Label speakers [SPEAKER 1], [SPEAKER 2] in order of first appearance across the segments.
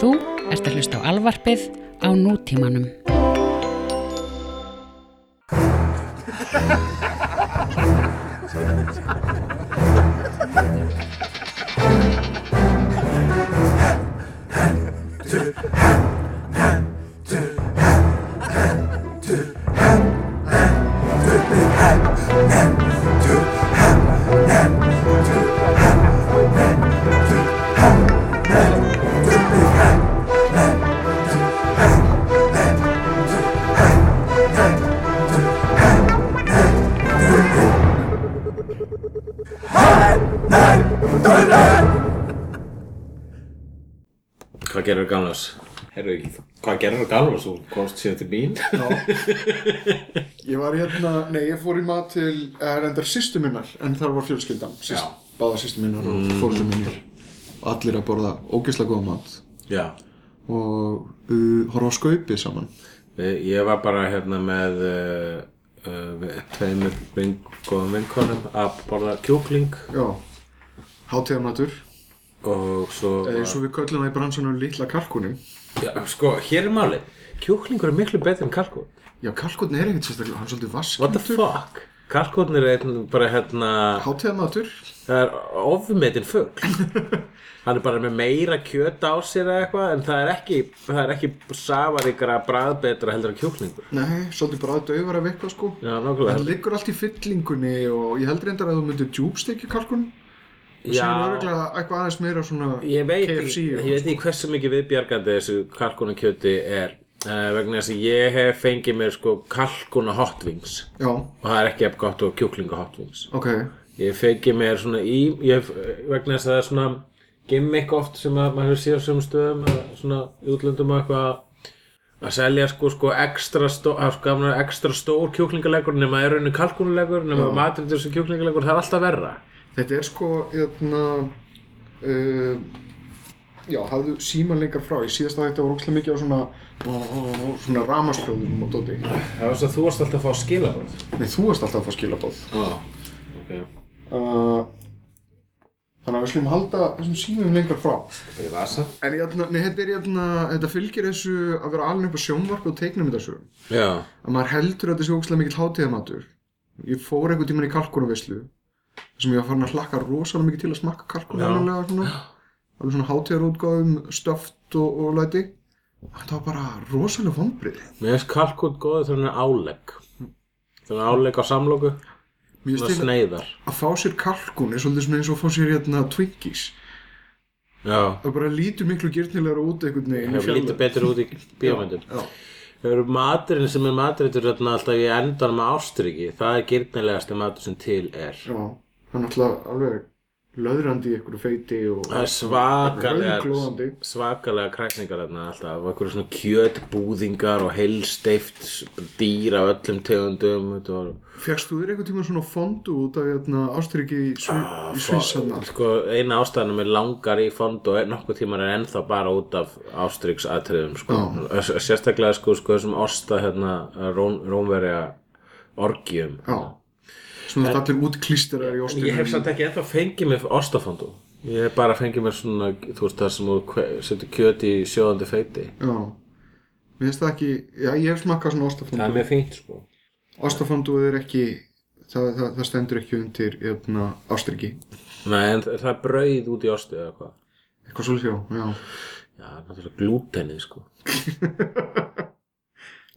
[SPEAKER 1] Þú ert að hlusta á alvarpið á nútímanum.
[SPEAKER 2] Hvað gerður Galvas? Herru, hvað gerður Galvas? Þú komst síðan til mín.
[SPEAKER 3] Ég var hérna, nei ég fór í mat til eh, reyndar sýstu minnar en þar var
[SPEAKER 2] Já.
[SPEAKER 3] fjölskyldan
[SPEAKER 2] Mm.
[SPEAKER 3] Sýst, báða sýstu minnar og fórstu minnir og allir að borða ógeðslega góða mat
[SPEAKER 2] Já.
[SPEAKER 3] og uh, horfa á skaupi saman
[SPEAKER 2] Eh, Ég var bara hérna með uh, uh, tveimur vin, góðum vinkonum að borða kjúkling
[SPEAKER 3] Já, hátíðarmatur
[SPEAKER 2] og svo...
[SPEAKER 3] eða eins og við köllum það í bransunum litla kalkunin
[SPEAKER 2] Eh, Já, sko, hér er máli. Kjúklingur er miklu betur en kalkún.
[SPEAKER 3] Já, kalkunin er ekkert sérstaklega, hann er svolítið
[SPEAKER 2] What the
[SPEAKER 3] vaskindur
[SPEAKER 2] fuck? Kalkún er einn bara hérna...
[SPEAKER 3] Hátíðarmatur
[SPEAKER 2] Það er ofmetinn fugl. Hann er bara með meira kjöt á sér eða eitthvað en það er ekki, það er ekki safaríkara bragðbetra heldur en kjúklingur.
[SPEAKER 3] Nei, svolítið bara að dauðvar af eitthvað sko
[SPEAKER 2] Já, nokkulega.
[SPEAKER 3] Það liggur allt í fyllingunni og ég held reyndar að þú myndir djúbstekja kalkunin og
[SPEAKER 2] Já.
[SPEAKER 3] sér örgulega eitthvað aðeins meira svona
[SPEAKER 2] ég veit,
[SPEAKER 3] KFC
[SPEAKER 2] ekki,
[SPEAKER 3] og-
[SPEAKER 2] ég veit ekki hversu mikið viðbjargandi þessu kalkunakjöti er uh, vegna þess að ég hef fengið mér sko kalkuna hot wings
[SPEAKER 3] Já,
[SPEAKER 2] og það er ekki eftir gott og kjúklinga hot wings
[SPEAKER 3] ok
[SPEAKER 2] ég hef fengið mér svona í ég, hef- vegna þess að það er svona gimmick oft sem að maður hefur séð á sögum stöðum að svona í útlöndum og eitthvað að selja sko, sko ekstra, stó, að, sko, gamla ekstra stór kjúklingalegur nema er rauninu kalkunulegur nema matur til þessu kjúklingalegur það er alltaf verra
[SPEAKER 3] Þetta er sko, hérna, uh, já, hafðu síman lengar frá. Ég síðast að þetta var ógslag mikið á svona, svona ramasljóðum og dóti.
[SPEAKER 2] það var þess að þú varst alltaf að fá skilabóð
[SPEAKER 3] Nei, þú varst alltaf að fá skilabóð.
[SPEAKER 2] ah, okay.
[SPEAKER 3] Uh, þannig að við slum halda þessum símum lengar frá.
[SPEAKER 2] í vasa
[SPEAKER 3] En hérna, nei, þetta er hérna, þetta fylgir þessu að vera alveg upp á sjónvarp og teiknum þessu.
[SPEAKER 2] Já,
[SPEAKER 3] Að maður heldur að þetta sé ógslag mikill hátíðamatur. Ég fór einhvern tíman í kalkunavislu, þar sem ég var farin að hlakka rosalega mikið til að smakka kalkun
[SPEAKER 2] Já.
[SPEAKER 3] alveg svona. alveg svona hátíðarútgáðum, stöft og, og læti. Þetta var bara rosalega vonbrið.
[SPEAKER 2] mér finnst kalkút góður þegar hann er álegg Þegar hann er álegg á samlóku Það
[SPEAKER 3] Mér finnst þetta
[SPEAKER 2] sneiðar
[SPEAKER 3] að fá sér kalkun er svolítið svona eins og að fá sér hérna Twinkies.
[SPEAKER 2] Já,
[SPEAKER 3] Það bara lítur miklu gyrnilegra út einhvern veginn.
[SPEAKER 2] það lítur betur út í bíómyndum
[SPEAKER 3] Já,
[SPEAKER 2] Það eru maturinn sem er maturitur þarna alltaf í endan með ástryggi Það er gyrnilegasti matur sem til er
[SPEAKER 3] já. Það er náttúrulega alveg löðrandi í einhverju feiti og...
[SPEAKER 2] Það er svakalega
[SPEAKER 3] Rauðglóðandi.
[SPEAKER 2] svakalega krækningar þarna alltaf og einhverju svona kjötbúðingar og heilsteift dýr af öllum tegundum þetta var
[SPEAKER 3] Fjast þú þér einhvern tíma svona fondu út af hérna Ástriki í, Sví í Svís hérna?
[SPEAKER 2] Sko, eina ástæðanum er langar í fond og nokkuð tímar er ennþá bara út af ástryks aðtriðum sko. S- sérstaklega sko, sko þessum osta hérna, róm, rómverja orgjum
[SPEAKER 3] Já. Svona þetta allir útklýstirar í Ástriki.
[SPEAKER 2] ég hef samt ekki ennþá fengið mér ostafondu ég hef bara fengið mér svona þú veist það sem þú kve- setur kjöti í sjóðandi feiti
[SPEAKER 3] Já. Mér finnst það ekki... Já, ég hef smakkað svona ástafondu.
[SPEAKER 2] það er mjög fínt sko
[SPEAKER 3] Ástafanduð er ekki það, það, það stendur ekki undir hérna, jöfna, ástryggi
[SPEAKER 2] Nei, en þa- það er brauð út í ostu eða hvað
[SPEAKER 3] eitthvað svolítið já, já.
[SPEAKER 2] já, náttúrulega glútenið sko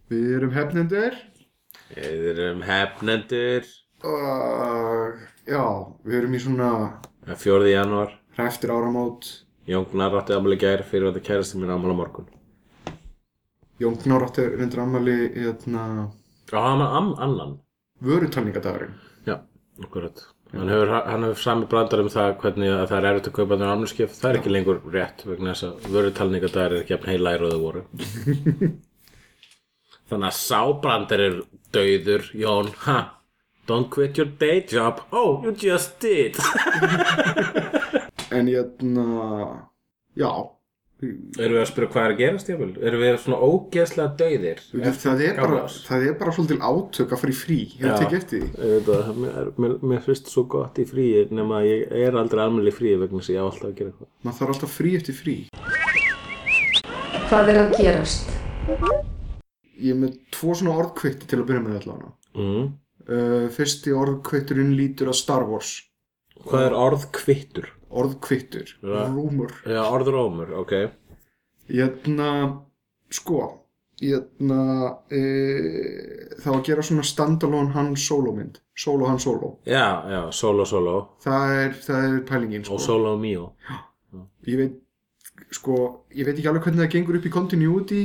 [SPEAKER 3] við erum hefnendur
[SPEAKER 2] við erum hefnendur
[SPEAKER 3] og já, við erum í svona
[SPEAKER 2] 4. janúar
[SPEAKER 3] hræftir áramót
[SPEAKER 2] Jóngnar átti afmæli í gær fyrir að það kærasti mín afmæli á morgun.
[SPEAKER 3] Jón Knárátt er reyndir ammali jöfna,
[SPEAKER 2] Já, hann var am, annan.
[SPEAKER 3] hérna, vörutalningadagurinn
[SPEAKER 2] Já, akkurat. Hann hefur, hann hefur sami brandar um það hvernig að það er erfitt að kaupa þannig afmæliskef. Það er ekki lengur rétt vegna þess að vörutalningadagar er ekki jafn heilægir og þau voru. Þannig að sábrandar er dauður, Jón. Ha? Don't quit your day job. Oh, you just did.
[SPEAKER 3] en jöfna, já
[SPEAKER 2] Erum við að spyrja hvað er að gerast, Jöfnvel? Erum við svona ógeðslega dauðir?
[SPEAKER 3] það er, bara,
[SPEAKER 2] gamlás.
[SPEAKER 3] það er bara svolítið átök að fara í frí ég
[SPEAKER 2] Já.
[SPEAKER 3] hef tekið eftir því
[SPEAKER 2] Ég veit að mér, mér, mér finnst svo gott í fríi nema að ég er aldrei almennileg fríi vegna þess að ég á alltaf að gera eitthvað.
[SPEAKER 3] maður þarf alltaf frí eftir frí
[SPEAKER 4] Hvað er að gerast?
[SPEAKER 3] Ég er með tvo svona orðkveitti til að byrja með allavega.
[SPEAKER 2] mm.
[SPEAKER 3] Uh, fyrsti orðkveitturinn lítur að Star Wars.
[SPEAKER 2] Hvað er orð kvittur?
[SPEAKER 3] Orðkveittur.
[SPEAKER 2] Ja.
[SPEAKER 3] Rúmur.
[SPEAKER 2] Já, orðrómur, ok
[SPEAKER 3] Jæna, sko, jæna, e, það var að gera svona standalone hann solo mynd, solo hann solo.
[SPEAKER 2] Já, já, solo, solo
[SPEAKER 3] Það er, það er pælingin, sko.
[SPEAKER 2] og solo mio
[SPEAKER 3] Ég veit, sko, ég veit ekki alveg hvernig það gengur upp í continuity.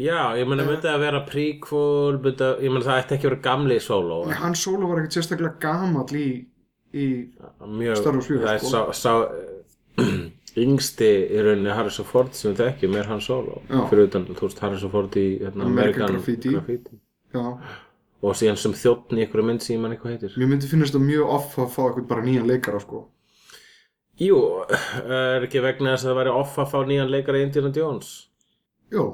[SPEAKER 2] Já, ég meina myndi að vera prequel myndi að, ég meina það ætti ekki að vera gamli solo
[SPEAKER 3] Nei, Hann solo var ekkert sérstaklega gamall í, í,
[SPEAKER 2] mjög,
[SPEAKER 3] Star Wars fjögur,
[SPEAKER 2] það er
[SPEAKER 3] sko.
[SPEAKER 2] sá, sá yngsti í rauninni Harrison Ford sem við þekkjum er hann solo
[SPEAKER 3] Já.
[SPEAKER 2] fyrir utan, þú veist, Harrison Ford í hérna,
[SPEAKER 3] American
[SPEAKER 2] American,
[SPEAKER 3] Graffiti.
[SPEAKER 2] Graffiti.
[SPEAKER 3] já,
[SPEAKER 2] og síðan sem þjóttn í einhverju mynd sem ég mann eitthvað heitir
[SPEAKER 3] mér myndi finnast það mjög off að fá eitthvað bara nýjan leikara, sko.
[SPEAKER 2] Jú, er ekki vegna þess að það væri off að fá nýjan leikara í Indiana Jones
[SPEAKER 3] Jó,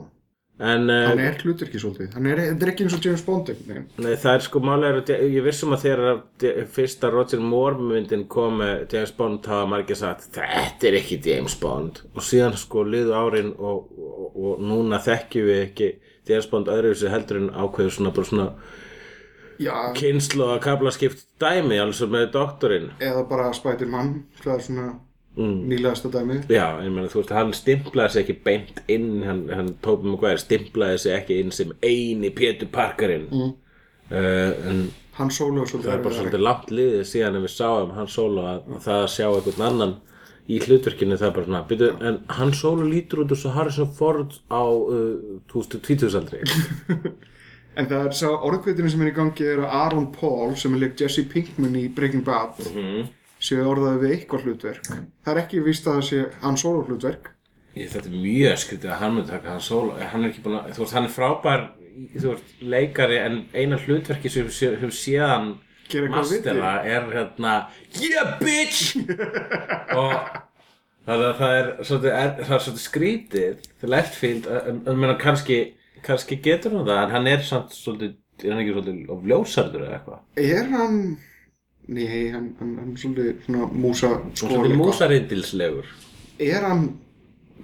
[SPEAKER 2] en uh,
[SPEAKER 3] hann er hlutur ekki svolítið. Hann er, þetta er ekki eins og James Bond, einhvern veginn.
[SPEAKER 2] nei, það er sko málega ég vissum að þegar de- fyrsta Roger Moore myndin kom með James Bond hafa margir sagt, þetta er ekki James Bond og síðan sko liðu árin og, og, og núna þekkjum við ekki James Bond öðruvísi heldur en ákveður svona bara svona
[SPEAKER 3] Já,
[SPEAKER 2] kynslu og kaflaskipt dæmi alveg svo með doktorinn
[SPEAKER 3] eða bara Spider-Man, það er svona mm. nýlegasta dæmið.
[SPEAKER 2] Já, ég meina, þú veist, hann stimplaði sig ekki beint inn, hann, hann Tóbi Maguire stimplaði sig ekki inn sem eini Pétur Parkerinn. Mm. en
[SPEAKER 3] hann sólu og svolítið
[SPEAKER 2] það er bara
[SPEAKER 3] erfiðara.
[SPEAKER 2] svolítið langt liðið síðan en við sáum hann sólu að að það að sjá einhvern annan í hlutverkinu það er bara svona, byrju, en hann sólu lítur út þessu Harrison Ford á uh, 2020 aldrei.
[SPEAKER 3] en það er sá orðkveitin sem er í gangi er að Aaron Paul sem er leik Jesse Pinkman í Breaking Bad séu orðaði við eitthvað hlutverk það er ekki víst að það sé hann sólu hlutverk
[SPEAKER 2] Ég, þetta er mjög skrítið að hann myndi taka hann sóla hann er ekki búin að, þú veist, hann er frábær í- þú veist, leikari en eina hlutverki sem sem séðan
[SPEAKER 3] Gera eitthvað við
[SPEAKER 2] mastera er hérna yeah bitch og það, það, það er svolítið, er, það er svolítið skrítið það er left field, en- en en meina kannski kannski getur hann það, en hann er samt svolítið, er hann ekki svolítið of ljósarður eða eitthvað,
[SPEAKER 3] er hann nei, hann, hann, hann er svolítið svona músa
[SPEAKER 2] Hann er svolítið
[SPEAKER 3] skor-
[SPEAKER 2] músarindilslegur
[SPEAKER 3] er hann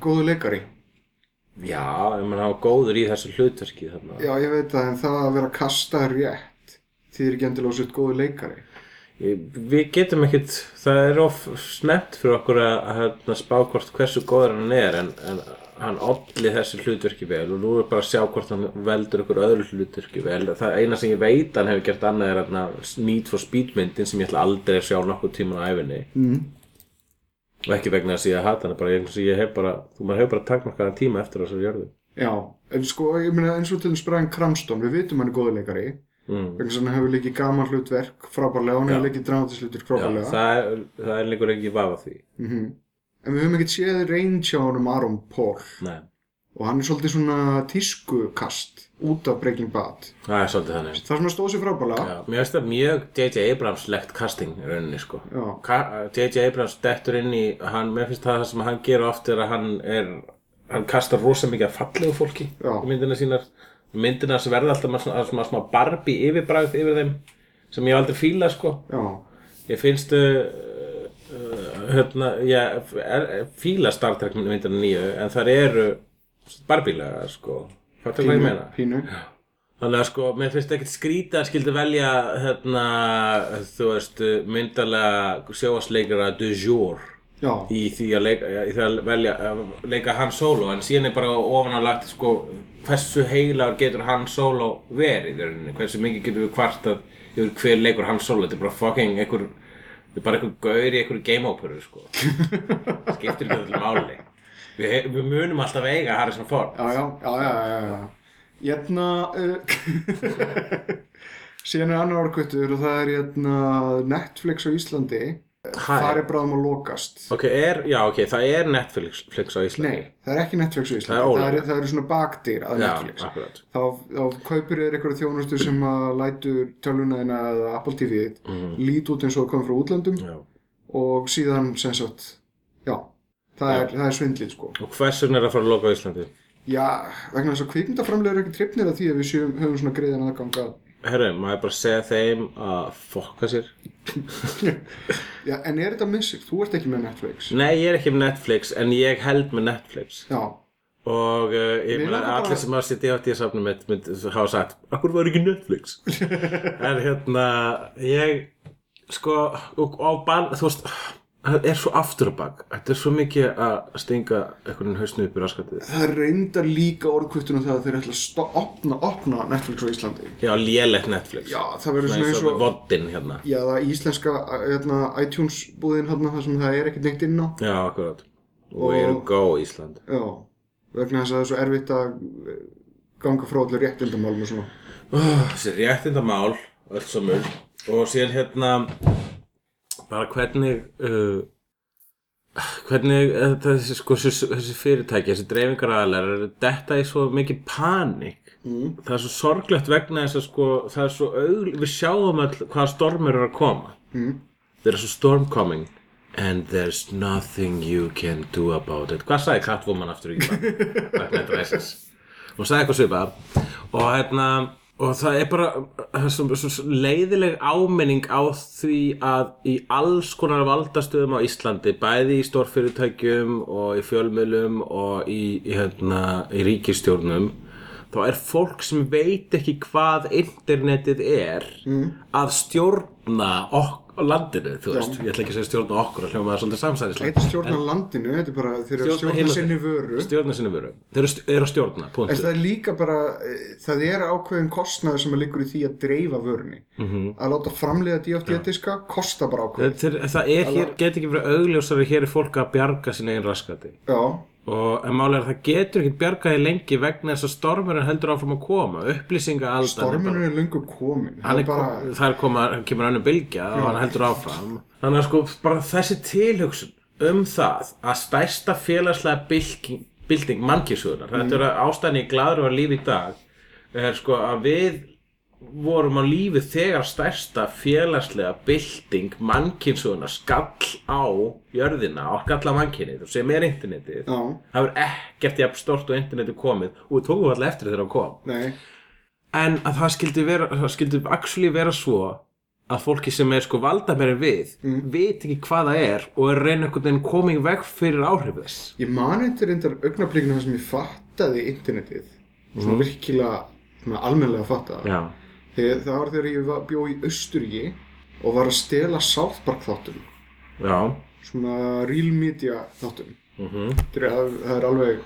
[SPEAKER 3] góðu leikari
[SPEAKER 2] já, ég meina hann var góður í þessu hlutverki þarna
[SPEAKER 3] já ég veit það en það að vera kasta rétt því er ekki endilega svolítið góðu leikari
[SPEAKER 2] Við getum ekkert, það er of snemt fyrir okkur að, að hérna, spá hvort hversu góður hann er en, en hann olli þessu hlutverki vel og nú er bara að sjá hvort hann veldur ykkur öðru hlutverki vel. Það eina sem ég veit hann hefur gert annað er hérna, Need for Speed myndin sem ég ætla aldrei að sjá nokkuð tíman á æfinni mm. og ekki vegna þess að ég hata hann bara, ég, ég hef bara, þú maður hefur bara takmarkaðan tíma eftir þessar jörðu.
[SPEAKER 3] já en sko ég meina eins og til þess Brian Cramston við vitum hann er góðu leikari
[SPEAKER 2] Mm.
[SPEAKER 3] vegna sem hann hefur leikið gaman hlutverk frábærlega og hann hefur leikið dramatisk hlutverk
[SPEAKER 2] Já,
[SPEAKER 3] frábærlega
[SPEAKER 2] það er, það er lengur ekki vafa því.
[SPEAKER 3] En við höfum ekkert séð range á honum Aron Paul
[SPEAKER 2] Nei,
[SPEAKER 3] og hann er svolítið svona tískukast út af Breaking Bad.
[SPEAKER 2] það er svolítið þannig.
[SPEAKER 3] Það sem hann stóð sér frábælega.
[SPEAKER 2] Já, mér finnst það mjög J.J. Abrams-legt casting í rauninni sko.
[SPEAKER 3] Já.
[SPEAKER 2] Ka- J.J. Abrams dettur inn í, hann, mér finnst það sem hann gerir oft er að hann er, hann kastar rosa mikið af fallegu fólki
[SPEAKER 3] Já.
[SPEAKER 2] í myndina sínar. Myndina sem verða alltaf með svona, svona, svona barbi yfirbragð yfir þeim sem ég hef aldrei fíla sko.
[SPEAKER 3] Já.
[SPEAKER 2] Ég finnst uh, uh, hérna, ég er, fíla Star Trek myndina nýju en þar eru barbilega sko. Hvað er það ég meina?
[SPEAKER 3] Pínu.
[SPEAKER 2] Þannig að sko, mér finnst ekkert skrýta að skildi velja hérna, þú veist, myndalega sjóasleikara du jour
[SPEAKER 3] Já.
[SPEAKER 2] í því að, leika, í því að velja að leika hann solo en síðan er bara ofan á lagt sko, hversu heilar getur hann solo verið í rauninni, hversu mikið getur við kvartað yfir hver leikur hann solo, þetta er bara fucking einhver, þetta er bara einhver gaur í einhver game-óperu sko, skiptir ekki allir máli. Við, he- við munum alltaf eiga Harrison Ford.
[SPEAKER 3] Já, já, já, já, já, já, já. Jæna, uh, síðan er annar orkvöldur og það er jæna Netflix á Íslandi.
[SPEAKER 2] Hæ?
[SPEAKER 3] Það er bráðum að lokast.
[SPEAKER 2] Ok, er, já, ok, það er Netflix Flix á Íslandi.
[SPEAKER 3] Nei, það er ekki Netflix á Íslandi.
[SPEAKER 2] Það er
[SPEAKER 3] það,
[SPEAKER 2] ólöglegt.
[SPEAKER 3] er, það eru svona bakdýr að
[SPEAKER 2] Já,
[SPEAKER 3] Netflix.
[SPEAKER 2] akkurat.
[SPEAKER 3] þá, þá kaupir þér eitthvað þjónustu sem að lætur tölvunæðina eða Apple TV mm. lít út eins og kom frá útlöndum
[SPEAKER 2] Mhm. Já.
[SPEAKER 3] og síðan sem sagt, já, það er, það er svindlið sko.
[SPEAKER 2] Og hvers vegna er að fara að loka á Íslandi?
[SPEAKER 3] Já, vegna þess að kvikmyndaframlega eru ekki tripnir að því að við séum, höfum svona greiðan aðgang að
[SPEAKER 2] Herru, maður bara segja þeim að fokka sér.
[SPEAKER 3] Já, en er þetta missið? Þú ert ekki með Netflix.
[SPEAKER 2] Nei, ég er ekki með Netflix, en ég held með Netflix.
[SPEAKER 3] Já,
[SPEAKER 2] og uh, ég
[SPEAKER 3] Mér
[SPEAKER 2] meina
[SPEAKER 3] langar bara-
[SPEAKER 2] allir sem að sitja átt í safnum mitt mynd, hafa sagt, akkur var ekki Netflix en hérna ég sko og, og ban, þú veist það er svo aftur á bak, þetta er svo mikið að stinga einhvern hausnu upp í raskatið
[SPEAKER 3] Það er reyndar líka orðkvöttunum það að þeir ætla að sto- opna, opna Netflix á Íslandi.
[SPEAKER 2] já, lélegt Netflix
[SPEAKER 3] Já, það verður svona eins og...
[SPEAKER 2] voddinn hérna
[SPEAKER 3] Já, það íslenska hérna, iTunes búðin hérna þar sem það er ekkert neitt inn á.
[SPEAKER 2] já, akkurat,
[SPEAKER 3] Og-
[SPEAKER 2] og eru gó Ísland
[SPEAKER 3] Já, vegna þess að það er svo erfitt að eh, ganga frá allir réttindamálum og svona.
[SPEAKER 2] þessi réttindamál öll saman og síðan hérna bara hvernig uh, hvernig eh, þessi, sko, þessi, þessi fyrirtæki, þessi dreifingaraðalar eru detta í svo mikið panik mm. það er svo sorglegt vegna þess að sko, það er svo augl við sjáum all hvaða stormur eru að koma mm. there's a storm coming and there's nothing you can do about it hvað sagði Catwoman aftur í vegna dræsins og sagði eitthvað svipað og hérna og það er bara það er svo- svo leiðileg áminning á því að í alls konar valdastöðum á Íslandi bæði í stórfyrirtækjum og í fjölmiðlum og í, í, hérna, í ríkistjórnum þá er fólk sem veit ekki hvað internetið er að stjórna ok landinu, þú veist, ég ætla ekki að segja stjórna okkur að hljóma það svolítið samsæðislega
[SPEAKER 3] Þetta er stjórna landinu, þetta er bara þeir eru að stjórna sinni vöru.
[SPEAKER 2] stjórna sinni vöru, þeir eru st- eru að stjórna
[SPEAKER 3] En
[SPEAKER 2] punktur.
[SPEAKER 3] það er líka bara, eh, það er ákveðin kostnaður sem að liggur í því að dreifa vörunni. -hmm. Að láta framleiða díóttíðadiska kosta bara ákveðin.
[SPEAKER 2] Þeir, það er hér, get ekki verið augljósari hér er fólk að bjarga sín eigin raskati
[SPEAKER 3] Já,
[SPEAKER 2] og en málega það getur ekki bjargaði lengi vegna þess að stormurinn heldur áfram að koma upplýsinga aldan
[SPEAKER 3] stormurinn er löngu komin.
[SPEAKER 2] hann
[SPEAKER 3] Það
[SPEAKER 2] er
[SPEAKER 3] er bara,
[SPEAKER 2] kom, þar koma, kemur önnum bylgja og hann heldur áfram þannig að sko bara þessi tilhugsun um það að stærsta félagslega bylking, bylting mannkísuðunar þetta er að ástæðan í gladur var lífi í dag er sko að við vorum á lífi þegar stærsta félagslega bylting mannkynsuðuna skall á jörðina og skall á mannkynnið sem er internetið
[SPEAKER 3] já,
[SPEAKER 2] það er ekkert jafn stort og internetið komið og við tókum alltaf eftir þegar það kom
[SPEAKER 3] nei,
[SPEAKER 2] en að það skildi vera það skildi actually vera svo að fólki sem er sko valda meira en við veit ekki hvað það er og er að reyna einhvern veginn komið veg fyrir áhrif þess
[SPEAKER 3] Ég man eitthvað reyndar augnablikinu þar sem ég fattaði internetið svona virkilega, svona almennilega fattaði
[SPEAKER 2] Mhm. já,
[SPEAKER 3] Þegar, það var þegar ég var- bjó í Östuríki og var að stela South Park þáttum
[SPEAKER 2] já,
[SPEAKER 3] svona real media þáttum
[SPEAKER 2] mm
[SPEAKER 3] Þegar það, það er alveg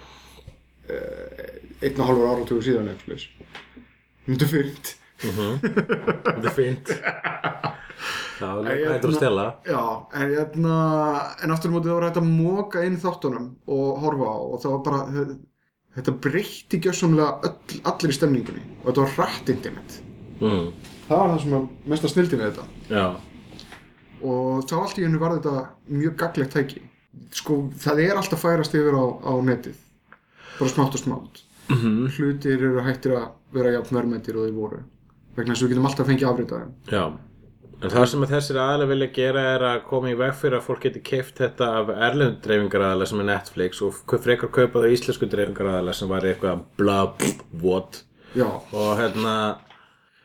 [SPEAKER 3] uh, einn og halvur áratugur síðan eitthvað Myndu fyrnt
[SPEAKER 2] þetta er fínt já,
[SPEAKER 3] Ég-
[SPEAKER 2] hættur að stela
[SPEAKER 3] Já, en, jæna, en aftur á móti það var hægt að móka inn þáttunum og horfa á og það var bara þetta breytti gjössamlega öll, allir í stemningunni og þetta var rætt internet
[SPEAKER 2] mm,
[SPEAKER 3] það var það sem að mesta snildi við þetta
[SPEAKER 2] já,
[SPEAKER 3] og þá allt í hennu var þetta mjög gaglegt tæki sko það er alltaf færast yfir á, á netið bara smátt og smátt -hmm. hlutir eru hættir að vera jafn verðmættir og þeir voru vegna þess að við getum alltaf að fengja afritaði
[SPEAKER 2] já en það sem að þessir aðlega vilja gera er að koma í veg fyrir að fólk geti keift þetta af erlend dreifingaraðala sem er Netflix og kau- frekar kaupa það íslensku dreifingaraðala sem var eitthvað bla, pff, what
[SPEAKER 3] já,
[SPEAKER 2] og hérna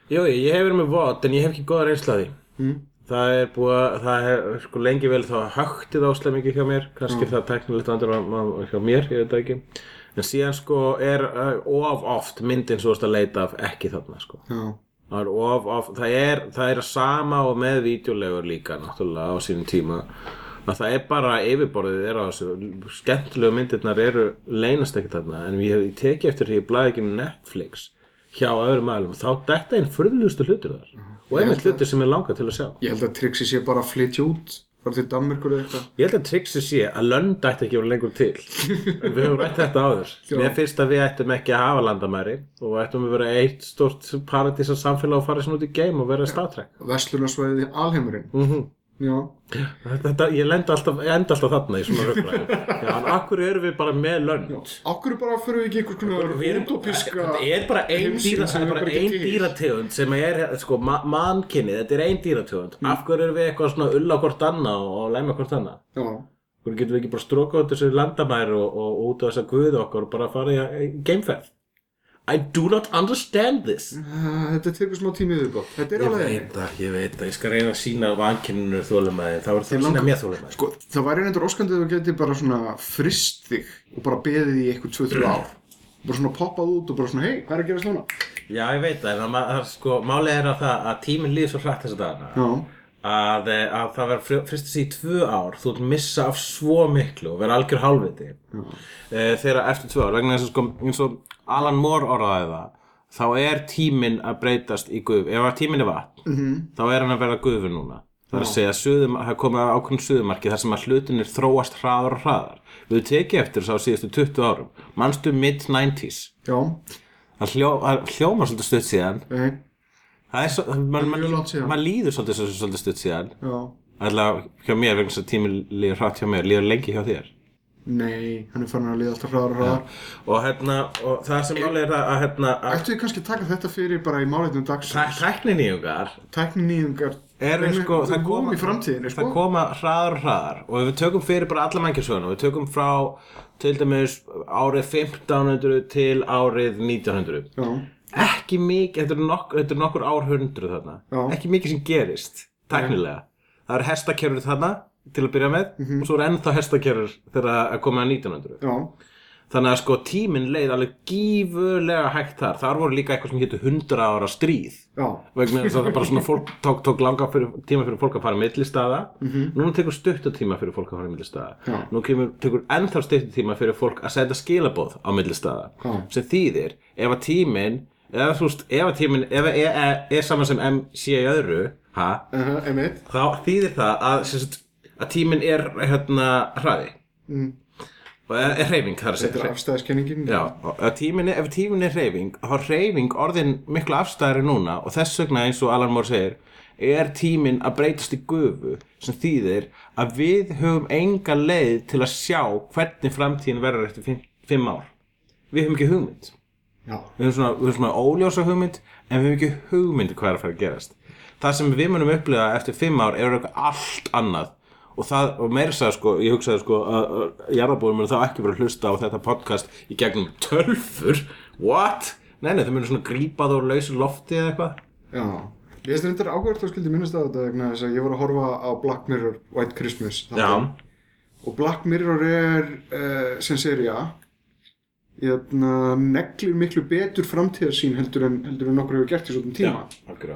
[SPEAKER 2] jú, jú, ég hef verið með vod en ég hef ekki góða reynsla af því
[SPEAKER 3] Mm.
[SPEAKER 2] það er búið að það hef sko lengi vel þá högtið áslega mikið hjá mér kannski það teknilegt andur á- á- hjá mér, ég veit það ekki en síðan sko er uh, of oft myndin svo að leita af ekki þarna sko
[SPEAKER 3] já,
[SPEAKER 2] Það er, of, of, það, er, það er sama og með vídeolegur líka náttúrulega á sínum tíma að það er bara yfirborðið er á þessu skemmtilegu myndirnar eru leynast ekkert þarna en ég hef tekið eftir því ég blæði ekki um Netflix hjá öðrum aðlum þá detta einn furðlustu hlutir þar og einmitt hlutir sem Mhm. ég langa til að sjá
[SPEAKER 3] ég held að triksi sé bara að flytja út bara til Danmerkur eða eitthvað
[SPEAKER 2] Ég held að triksi sé að lönd ætti ekki að vera lengur til en við höfum rætt þetta áður
[SPEAKER 3] Já.
[SPEAKER 2] Mér finnst að við ættum ekki að hafa landamæri og ættum að vera eitt stort paradísa samfélag og fara svona út í game og vera statrek
[SPEAKER 3] Vestlunarsvæðið í alheimurinn
[SPEAKER 2] mm
[SPEAKER 3] Já,
[SPEAKER 2] Þetta, ég lenda alltaf, ég enda alltaf þarna í svona röggræði. Já, en akkur erum við bara með lönd?
[SPEAKER 3] okkur bara fyrir við ekki einhvers
[SPEAKER 2] Við
[SPEAKER 3] konar
[SPEAKER 2] erum-
[SPEAKER 3] utopiska
[SPEAKER 2] Þetta er bara ein,
[SPEAKER 3] heimsýn
[SPEAKER 2] dýra,
[SPEAKER 3] sem
[SPEAKER 2] það er
[SPEAKER 3] er
[SPEAKER 2] bara
[SPEAKER 3] bara
[SPEAKER 2] ein
[SPEAKER 3] ekki til.
[SPEAKER 2] dýrategund sem er, sko, ma mannkynnið, þetta er ein dýrategund.
[SPEAKER 3] Mm.
[SPEAKER 2] Af hverju erum við eitthvað svona ulla hvort annað og, og læma hvort annað?
[SPEAKER 3] Já,
[SPEAKER 2] Hverju getum við ekki bara strókað út þessu landamæri og, og, og út á þessa guð okkar og bara farið í að- í geimferð? I do not understand this
[SPEAKER 3] Uh, þetta tekur smá tími yfirbótt. Þetta er
[SPEAKER 2] Ég
[SPEAKER 3] alveg
[SPEAKER 2] veit það, ég veit það, ég skal reyna að sína vankinninu þólumæði, það voru það
[SPEAKER 3] Ég
[SPEAKER 2] að sína
[SPEAKER 3] langar-
[SPEAKER 2] mér þólumæði
[SPEAKER 3] Sko, það væri reyndur óskandi að þú geti bara svona frist þig og bara beðið í eitthvað 2-3 ár. Bara svona poppað út og bara svona, hei, hvað er að gera svona?
[SPEAKER 2] Já, ég veit það, en það, ma- það, sko, málið er að það að tíminn líður svo hrætt þess að dagana
[SPEAKER 3] Já,
[SPEAKER 2] að, eh, að það verður fristis í tvö ár þú ert missa af svo miklu og verður algjör hálfviti mm. þegar eftir tvö ár, vegna þess að sko, eins og Alan Moore orðaði það þá er tíminn að breytast í guð ef að tíminn er vatn, -hmm. þá er hann að verða guðu núna Það er að segja að suðum, það er komið að ákveðin suðumarki þar sem að hlutinir þróast hraðar og hraðar. Við tekið eftir þess á síðustu 20 árum. Manstu mid-90s.
[SPEAKER 3] já,
[SPEAKER 2] Það hljó, það hljómar svolítið stutt síðan.
[SPEAKER 3] hei,
[SPEAKER 2] Það er svo,
[SPEAKER 3] er mjög
[SPEAKER 2] maður
[SPEAKER 3] langt síðan.
[SPEAKER 2] man líður svolítið svo- svolítið stutt síðan.
[SPEAKER 3] já,
[SPEAKER 2] Alltaf hjá mér, vegna þess að tíminn líður hratt hjá mér, líður lengi hjá þér.
[SPEAKER 3] nei, hann er farin að liða alltaf hraðar og hraðar.
[SPEAKER 2] Og hérna, og það sem málið er að, að hérna, að
[SPEAKER 3] Ættu við kannski að taka þetta fyrir bara í máleitnum dags?
[SPEAKER 2] tæ- tækninýjungar
[SPEAKER 3] Tækninýðungar,
[SPEAKER 2] eru sko, það
[SPEAKER 3] koma
[SPEAKER 2] koma,
[SPEAKER 3] í framtíðinni, sko.
[SPEAKER 2] það koma hraðar og hraðar. Og ef við tökum fyrir bara alla mannkjörsöguna, við tökum frá til dæmis árið 1500 til árið 1900.
[SPEAKER 3] Já,
[SPEAKER 2] Ekki mikið, þetta eru nokkur, þetta eru nokkur árhundruð þarna.
[SPEAKER 3] Já.
[SPEAKER 2] Ekki mikið sem gerist, tæknilega. Það eru hestakerfur þarna til að byrja með og svo eru ennþá hestakerfur þegar að koma að 1900.
[SPEAKER 3] já,
[SPEAKER 2] Þannig að sko tíminn leið alveg gífurlega hægt þar. Þar voru líka eitthvað sem hétu 100 ára stríð.
[SPEAKER 3] já,
[SPEAKER 2] Vegna þess að það bara svona fólk tók, tók langa fyrir, tíma fyrir fólk að fara milli staða. Núna tekur stutta tíma fyrir fólk að fara milli staða.
[SPEAKER 3] Mhm. Já.
[SPEAKER 2] Nú kemur, tekur ennþá stutta tíma fyrir fólk að senda skilaboð á milli staða.
[SPEAKER 3] Já.
[SPEAKER 2] Sem þýðir, ef að tíminn, ef, þú veist, ef að tíminn, ef að e, e, er saman sem M sé í öðru, ha,
[SPEAKER 3] uh -huh, emitt,
[SPEAKER 2] þá þýðir það að, sem sagt, að tíminn er hérna hraði.
[SPEAKER 3] Mm.
[SPEAKER 2] Og e, er, er reyfing þar að segja.
[SPEAKER 3] þetta er afstæðiskenningin.
[SPEAKER 2] Já, og ef tíminn er- ef tíminn er hreyfing, þá er hreyfing orðin miklu afstæðari núna og þess vegna eins og Alan Moore segir, er tíminn að breytast í gufu sem þýðir að við höfum enga leið til að sjá hvernig framtíðin verður eftir fimm, fimm ár. Við höfum ekki hugmynd.
[SPEAKER 3] Já,
[SPEAKER 2] Við höfum svona, við höfum svona óljósa hugmynd en við höfum ekki hugmynd hvað er að fara að gerast. Það sem við munum upplifa eftir fimm ár er eitthvað allt annað og það, og meira sagði sko, ég hugsaði sko að, að jarðarbúður munu þá ekki verið að hlusta á þetta podcast í gegnum tölfur What? Nei, nei, þau munu svona grípa þá lausu lofti eða eitthvað
[SPEAKER 3] já. Ég veist reyndar áhverjart að skildi minnast að þetta vegna þess að ég var að horfa á Black Mirror White Christmas. þáttinn. Og Black Mirror er, uh, sem seria, jæna, neglir miklu betur framtíðarsýn heldur en, heldur en okkur hefur gert í svona
[SPEAKER 2] já,
[SPEAKER 3] tíma.
[SPEAKER 2] akkurá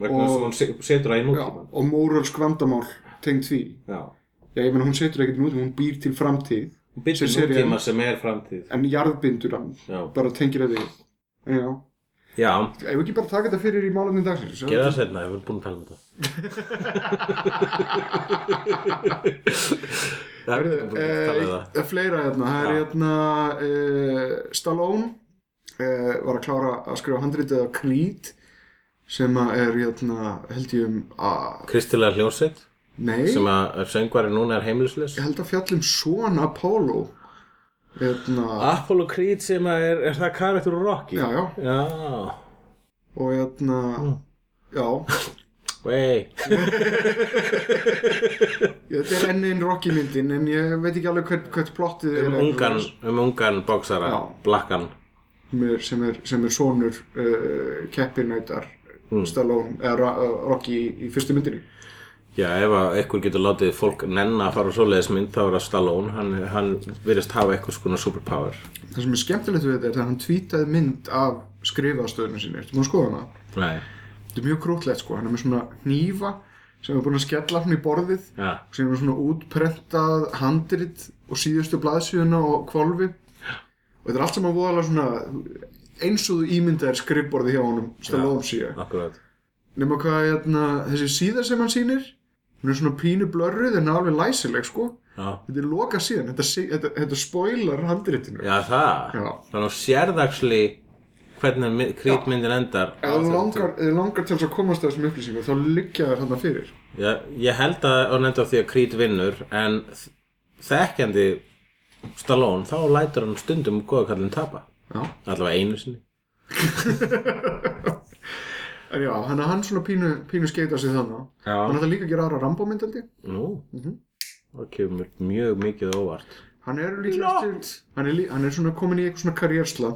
[SPEAKER 2] Vegna þess
[SPEAKER 3] Og-
[SPEAKER 2] að hún se- setur það í nútímann
[SPEAKER 3] og moralsk vandamál tengd því.
[SPEAKER 2] Já,
[SPEAKER 3] Já, ég meina hún setur ekkert nútíma, hún býr til framtíð,
[SPEAKER 2] hún byrjar
[SPEAKER 3] Sem serían.
[SPEAKER 2] nútíma sem er framtíð
[SPEAKER 3] en jarðbindur hann,
[SPEAKER 2] Já,
[SPEAKER 3] bara tengir að því. En já,
[SPEAKER 2] já
[SPEAKER 3] ef við ekki bara taka þetta fyrir í málefni dagsins. já?
[SPEAKER 2] gera það setna, ég verður búin að tala um þetta Það er búin að tala um það
[SPEAKER 3] Það er Eh, fleira hérna, það er
[SPEAKER 2] Já.
[SPEAKER 3] hérna uh, Stallone uh, var að klára að skrifa handritið af Creed sem að er hérna held ég um að,
[SPEAKER 2] Kristilega hljósið
[SPEAKER 3] nei,
[SPEAKER 2] sem að söngvari núna er heimilisleis
[SPEAKER 3] ég held að fjallum son Apollo hérna,
[SPEAKER 2] Apollo Creed sem að er, er það karakter úr Rocky
[SPEAKER 3] já já
[SPEAKER 2] Já,
[SPEAKER 3] og hérna,
[SPEAKER 2] Hmm.
[SPEAKER 3] já
[SPEAKER 2] vei
[SPEAKER 3] þetta er enn einn Rocky myndin en ég veit ekki alveg hvert, hvert plottið er
[SPEAKER 2] Um ungan, um ungan boksara,
[SPEAKER 3] Já.
[SPEAKER 2] blakkan
[SPEAKER 3] sem er, sem er, sem er sonur uh, keppinætar
[SPEAKER 2] Hmm.
[SPEAKER 3] Stallone, eða Ra- uh, Rocky í, í fyrstu myndinni
[SPEAKER 2] Já, ef að einhver getur látið fólk nenna að fara á svoleiðismynd þá er það Stallone, hann, hann virðist hafa eitthvað skona superpower
[SPEAKER 3] Það sem er skemmtilegt við þetta er að hann tweetaði mynd af skrifaðastöðunum sinni. Ertu búin að skoða hana?
[SPEAKER 2] Nei,
[SPEAKER 3] Þetta er mjög grótlegt sko. Hann er með svona hnífa sem er búin að skella hann í borðið
[SPEAKER 2] já,
[SPEAKER 3] sem er með svona útprentað handrit og síðustu blaðsíðuna og kvolfi. Og þetta er allt saman voðalega svona eins og þú ímyndaðir skrifborði hjá honum Stallone síðan.
[SPEAKER 2] akkurát
[SPEAKER 3] Nefnum hvað hérna, þessi síða sem hann sýnir, hún er svona pínu blörruð en alveg læsileg sko.
[SPEAKER 2] Já,
[SPEAKER 3] Þetta er loka síðan, þetta, sig- þetta, þetta spoilar handritinu.
[SPEAKER 2] já það
[SPEAKER 3] Já.
[SPEAKER 2] Þannig að þú sérðaksli hvernig krítmyndin endar
[SPEAKER 3] Ef þú langar, ef þú langar til þess að komast að þessum upplýsingum þá liggja þér þarna fyrir.
[SPEAKER 2] já, Ég held að hún endar á því að krít vinnur en þ- þekkjandi Stallone þá lætur hann stundum góða kallinn tapa
[SPEAKER 3] Já.
[SPEAKER 2] Allavega einu sinni
[SPEAKER 3] En já, hann, hann svona pínu, pínu skeita sig þannig. Hann
[SPEAKER 2] Já,
[SPEAKER 3] ætla líka að gera aðra rambómyndandi.
[SPEAKER 2] nú,
[SPEAKER 3] Mhm.
[SPEAKER 2] það kemur mjög mikið á óvart
[SPEAKER 3] Hann er líklega eftir, hann er, lí- hann er svona komin í eitthvað svona karjérsla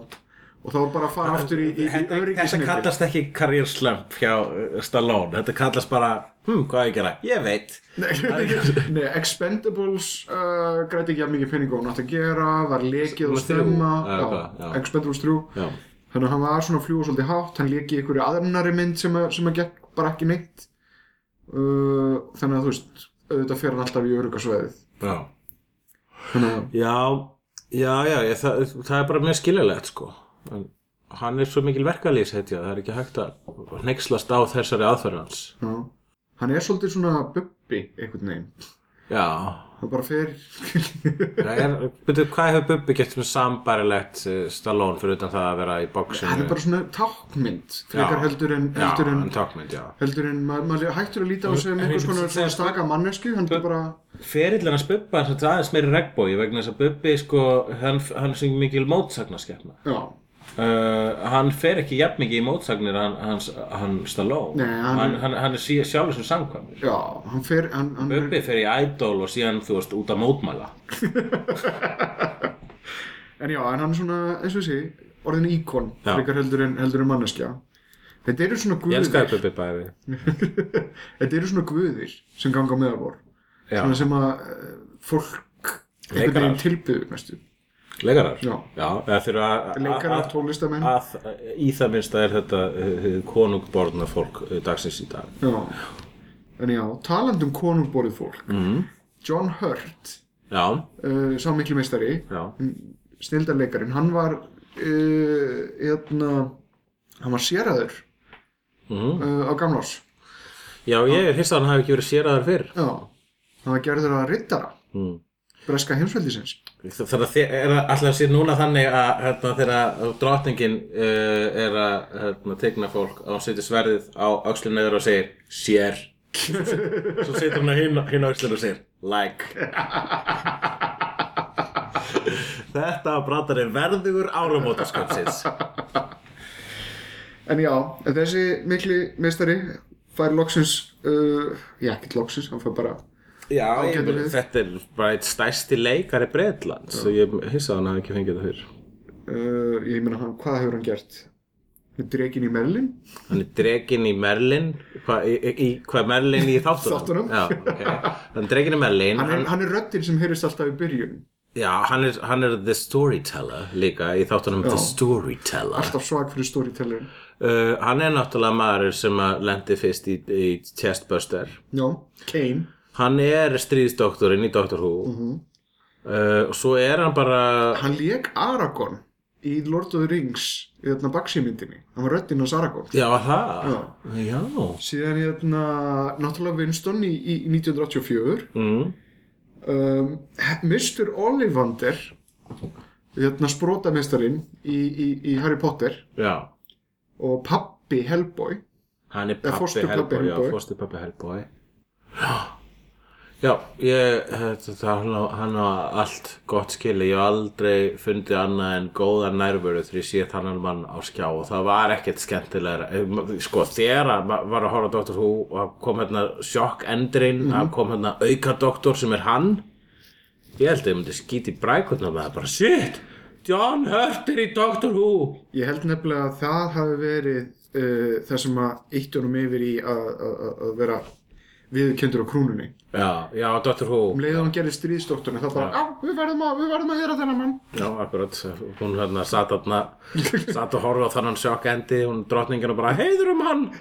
[SPEAKER 3] og þá er bara að fara aftur í, í, í
[SPEAKER 2] Þetta, þetta
[SPEAKER 3] öryggisneti
[SPEAKER 2] kallast ekki career slump hjá uh, Stallone, þetta kallast bara hm, hvað á ég að gera? Ég veit
[SPEAKER 3] Nei, Nei, Expendables uh, græti ekki að mikið pening og nátt að gera var lekið og
[SPEAKER 2] Var þrjú?
[SPEAKER 3] stemma
[SPEAKER 2] Já,
[SPEAKER 3] já,
[SPEAKER 2] hvað, já.
[SPEAKER 3] Expendables 3
[SPEAKER 2] Já,
[SPEAKER 3] þannig að hann var svona að fljúa svolítið hátt hann lekið ykkur í aðrunari mynd sem að, sem að gekk bara ekki neitt uh, þannig að þú veist auðvitað fer hann alltaf í öryggasveðið
[SPEAKER 2] já
[SPEAKER 3] þannig að
[SPEAKER 2] Já, já, já ég, það, það er bara mjög skiljalegt sko en hann er svo mikil verkalýs heitja, það er ekki hægt að hneykslast á þessari aðferð hans
[SPEAKER 3] já. hann er svolítið svona bubbi einhvern veginn
[SPEAKER 2] Já,
[SPEAKER 3] hann bara fer
[SPEAKER 2] það er, betur, hvað hefur Bubbi gert með sambarilegt Stallone fyrir utan það að vera í bóksinu?
[SPEAKER 3] hann er bara svona tákmynd frekar
[SPEAKER 2] Já.
[SPEAKER 3] heldur en,
[SPEAKER 2] Já,
[SPEAKER 3] heldur en
[SPEAKER 2] hann tákmynd, já
[SPEAKER 3] heldur en maður maður hættur að líta á sig um
[SPEAKER 2] En-
[SPEAKER 3] einhvers
[SPEAKER 2] en-
[SPEAKER 3] konar svona
[SPEAKER 2] en-
[SPEAKER 3] staka mannesku hann er bara
[SPEAKER 2] Ferillan hans Bubba er svolítið aðeins meiri regnbói vegna þess að Bubbi, sko, hann, hann syng mikil mótsagnarskeppna
[SPEAKER 3] já,
[SPEAKER 2] Uh, hann fer ekki jafn mikið í mótsagnir hann, hans, hann Stallone
[SPEAKER 3] Nei, hann-
[SPEAKER 2] hann, hann, hann er sí- sjálfur sem samkvæmur
[SPEAKER 3] já, hann fer hann, hann er,
[SPEAKER 2] Bubbi fer í idol og síðan þú veist út að mótmæla
[SPEAKER 3] en já, en hann er svona eins og sé, orðin íkon
[SPEAKER 2] Já.
[SPEAKER 3] frekar heldur en, heldur en manneskja þetta eru svona
[SPEAKER 2] Ég
[SPEAKER 3] guðir
[SPEAKER 2] elskaði Bubbi bæði
[SPEAKER 3] þetta eru svona guðir sem ganga á meðalvor
[SPEAKER 2] Já.
[SPEAKER 3] svona sem að eh, fólk einhvern
[SPEAKER 2] Leikarar.
[SPEAKER 3] veginn tilbyður næstu
[SPEAKER 2] Leikarar?
[SPEAKER 3] Já.
[SPEAKER 2] eða fyrir að
[SPEAKER 3] leikarar,
[SPEAKER 2] að-
[SPEAKER 3] tólistamenn
[SPEAKER 2] að í það minnsta er þetta uh, konungborna fólk uh, dagsins í dag
[SPEAKER 3] já, en já, talandum konungborið fólk
[SPEAKER 2] Mhm.
[SPEAKER 3] mm. John Hurt
[SPEAKER 2] já,
[SPEAKER 3] uh, sá miklu meistari
[SPEAKER 2] já,
[SPEAKER 3] snildarleikarin, hann var uh, hérna hann var séraður
[SPEAKER 2] Mhm.
[SPEAKER 3] uh, á gamlás
[SPEAKER 2] já ég er hins að hann hafi ekki verið séraðar fyrr
[SPEAKER 3] já, hann var gerður að rittara
[SPEAKER 2] mm.
[SPEAKER 3] breska heimsveldisins
[SPEAKER 2] þannig að þið er alltaf að sé núna þannig að hérna, þegar drottningin uh, er að hérna, tegna fólk að hún setur sverðið á öxlinu neður og segir sér svo setur hún á hinn hin öxlinu og segir like þetta bratar er verðugur áramótaskapsins
[SPEAKER 3] en já, en þessi miklu meistari fær loksins uh, já, ekki loksins, hann fær bara
[SPEAKER 2] Já, ég,
[SPEAKER 3] Ágætur
[SPEAKER 2] meina,
[SPEAKER 3] liður.
[SPEAKER 2] þetta er bara eitt stærsti leikari Breitlands og ég hissa að hann hafi ekki fengið þetta fyrr.
[SPEAKER 3] uh, ég meina, hann, hvað hefur hann gert? Drekin í Merlin
[SPEAKER 2] Hann er dreginn í Merlin, hvað hva Merlin í þáttunum?
[SPEAKER 3] Þáttunum.
[SPEAKER 2] Já, ok. Hann er dreginn í Merlin,
[SPEAKER 3] hann er,
[SPEAKER 2] hann,
[SPEAKER 3] hann er röddin sem heyrist alltaf í byrjun
[SPEAKER 2] já, hann er, hann er The Storyteller líka í þáttunum The Storyteller.
[SPEAKER 3] alltaf svag fyrir storytellerin
[SPEAKER 2] Uh, hann er náttúrulega maður sem að lendi fyrst í, í Chestbuster.
[SPEAKER 3] já, Kane
[SPEAKER 2] Hann er stríðsdoktorinn í Doctor Who
[SPEAKER 3] Mhm.
[SPEAKER 2] uh, og svo er hann bara
[SPEAKER 3] hann leik Aragorn í Lord of the Rings í þarna baksýmyndinni hann var röddinn hans Aragorn
[SPEAKER 2] Já, það? Já.
[SPEAKER 3] síðan hérna náttúrulega Winston í, í 1984
[SPEAKER 2] Mm.
[SPEAKER 3] um, Mr. Ollivander hérna sprótamestarin í, í, í Harry Potter
[SPEAKER 2] Já.
[SPEAKER 3] og pappi Hellboy
[SPEAKER 2] Hann er
[SPEAKER 3] Eða
[SPEAKER 2] pappi
[SPEAKER 3] fósturpabbi
[SPEAKER 2] Hellboy, já,
[SPEAKER 3] Hellboy.
[SPEAKER 2] fórstu pappi Hellboy. Já, já ég, þetta, það- hann, á, hann á allt gott skili. Ég hef aldrei fundið annað en góða nærvöru þegar ég sé þannan mann á skjá og það var ekkert skemmtilegra. Eh, ma- Sko, þegar að ma- var að horfa á Dr. Who og það kom hérna sjokk endurinn, það
[SPEAKER 3] Mhm.
[SPEAKER 2] kom hérna aukadoktor sem er hann. Ég held að ég myndi skíti í brækurnar með það bara, shit, John Hurt er í Dr. Who.
[SPEAKER 3] ég held nefnilega að það hafi verið uh, það sem að eittunum yfir í að, að, að- að vera viðkendur á krúnunni
[SPEAKER 2] Já, já, Dr. Who.
[SPEAKER 3] um leiðan hann gerir stríðsdoktorinn þá bara, já, við verðum að, við verðum að hera þennan mann
[SPEAKER 2] Já, akkurat, hún hérna satt aðna, satt að horfa á þannan sjokkendi, hún drottningin og bara, heiður um hann!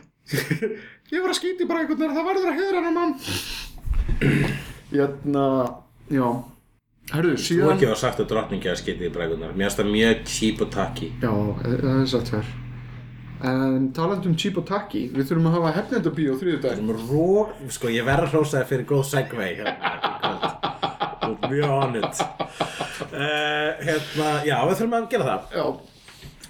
[SPEAKER 3] Ég var að skýti bara einhvern veginn, það verður að heiðra hennar mann. Jæna, Hérna, já. Herru,
[SPEAKER 2] Þú
[SPEAKER 3] síðan...
[SPEAKER 2] ekki var sagt að drottningi að skytið í brækunar, mér finnst það mjög cheap og takki.
[SPEAKER 3] Já, eh, það er satt hér. En talandi um cheap og tacky, við þurfum að hafa hefnendabíó þriðjudaginn.
[SPEAKER 2] Ró, sko, ég verð að hrósa þér fyrir góð segvei hérna í kvöld. Þú ert Mjög on it. Uh, hérna, já, við þurfum að gera það.
[SPEAKER 3] Já.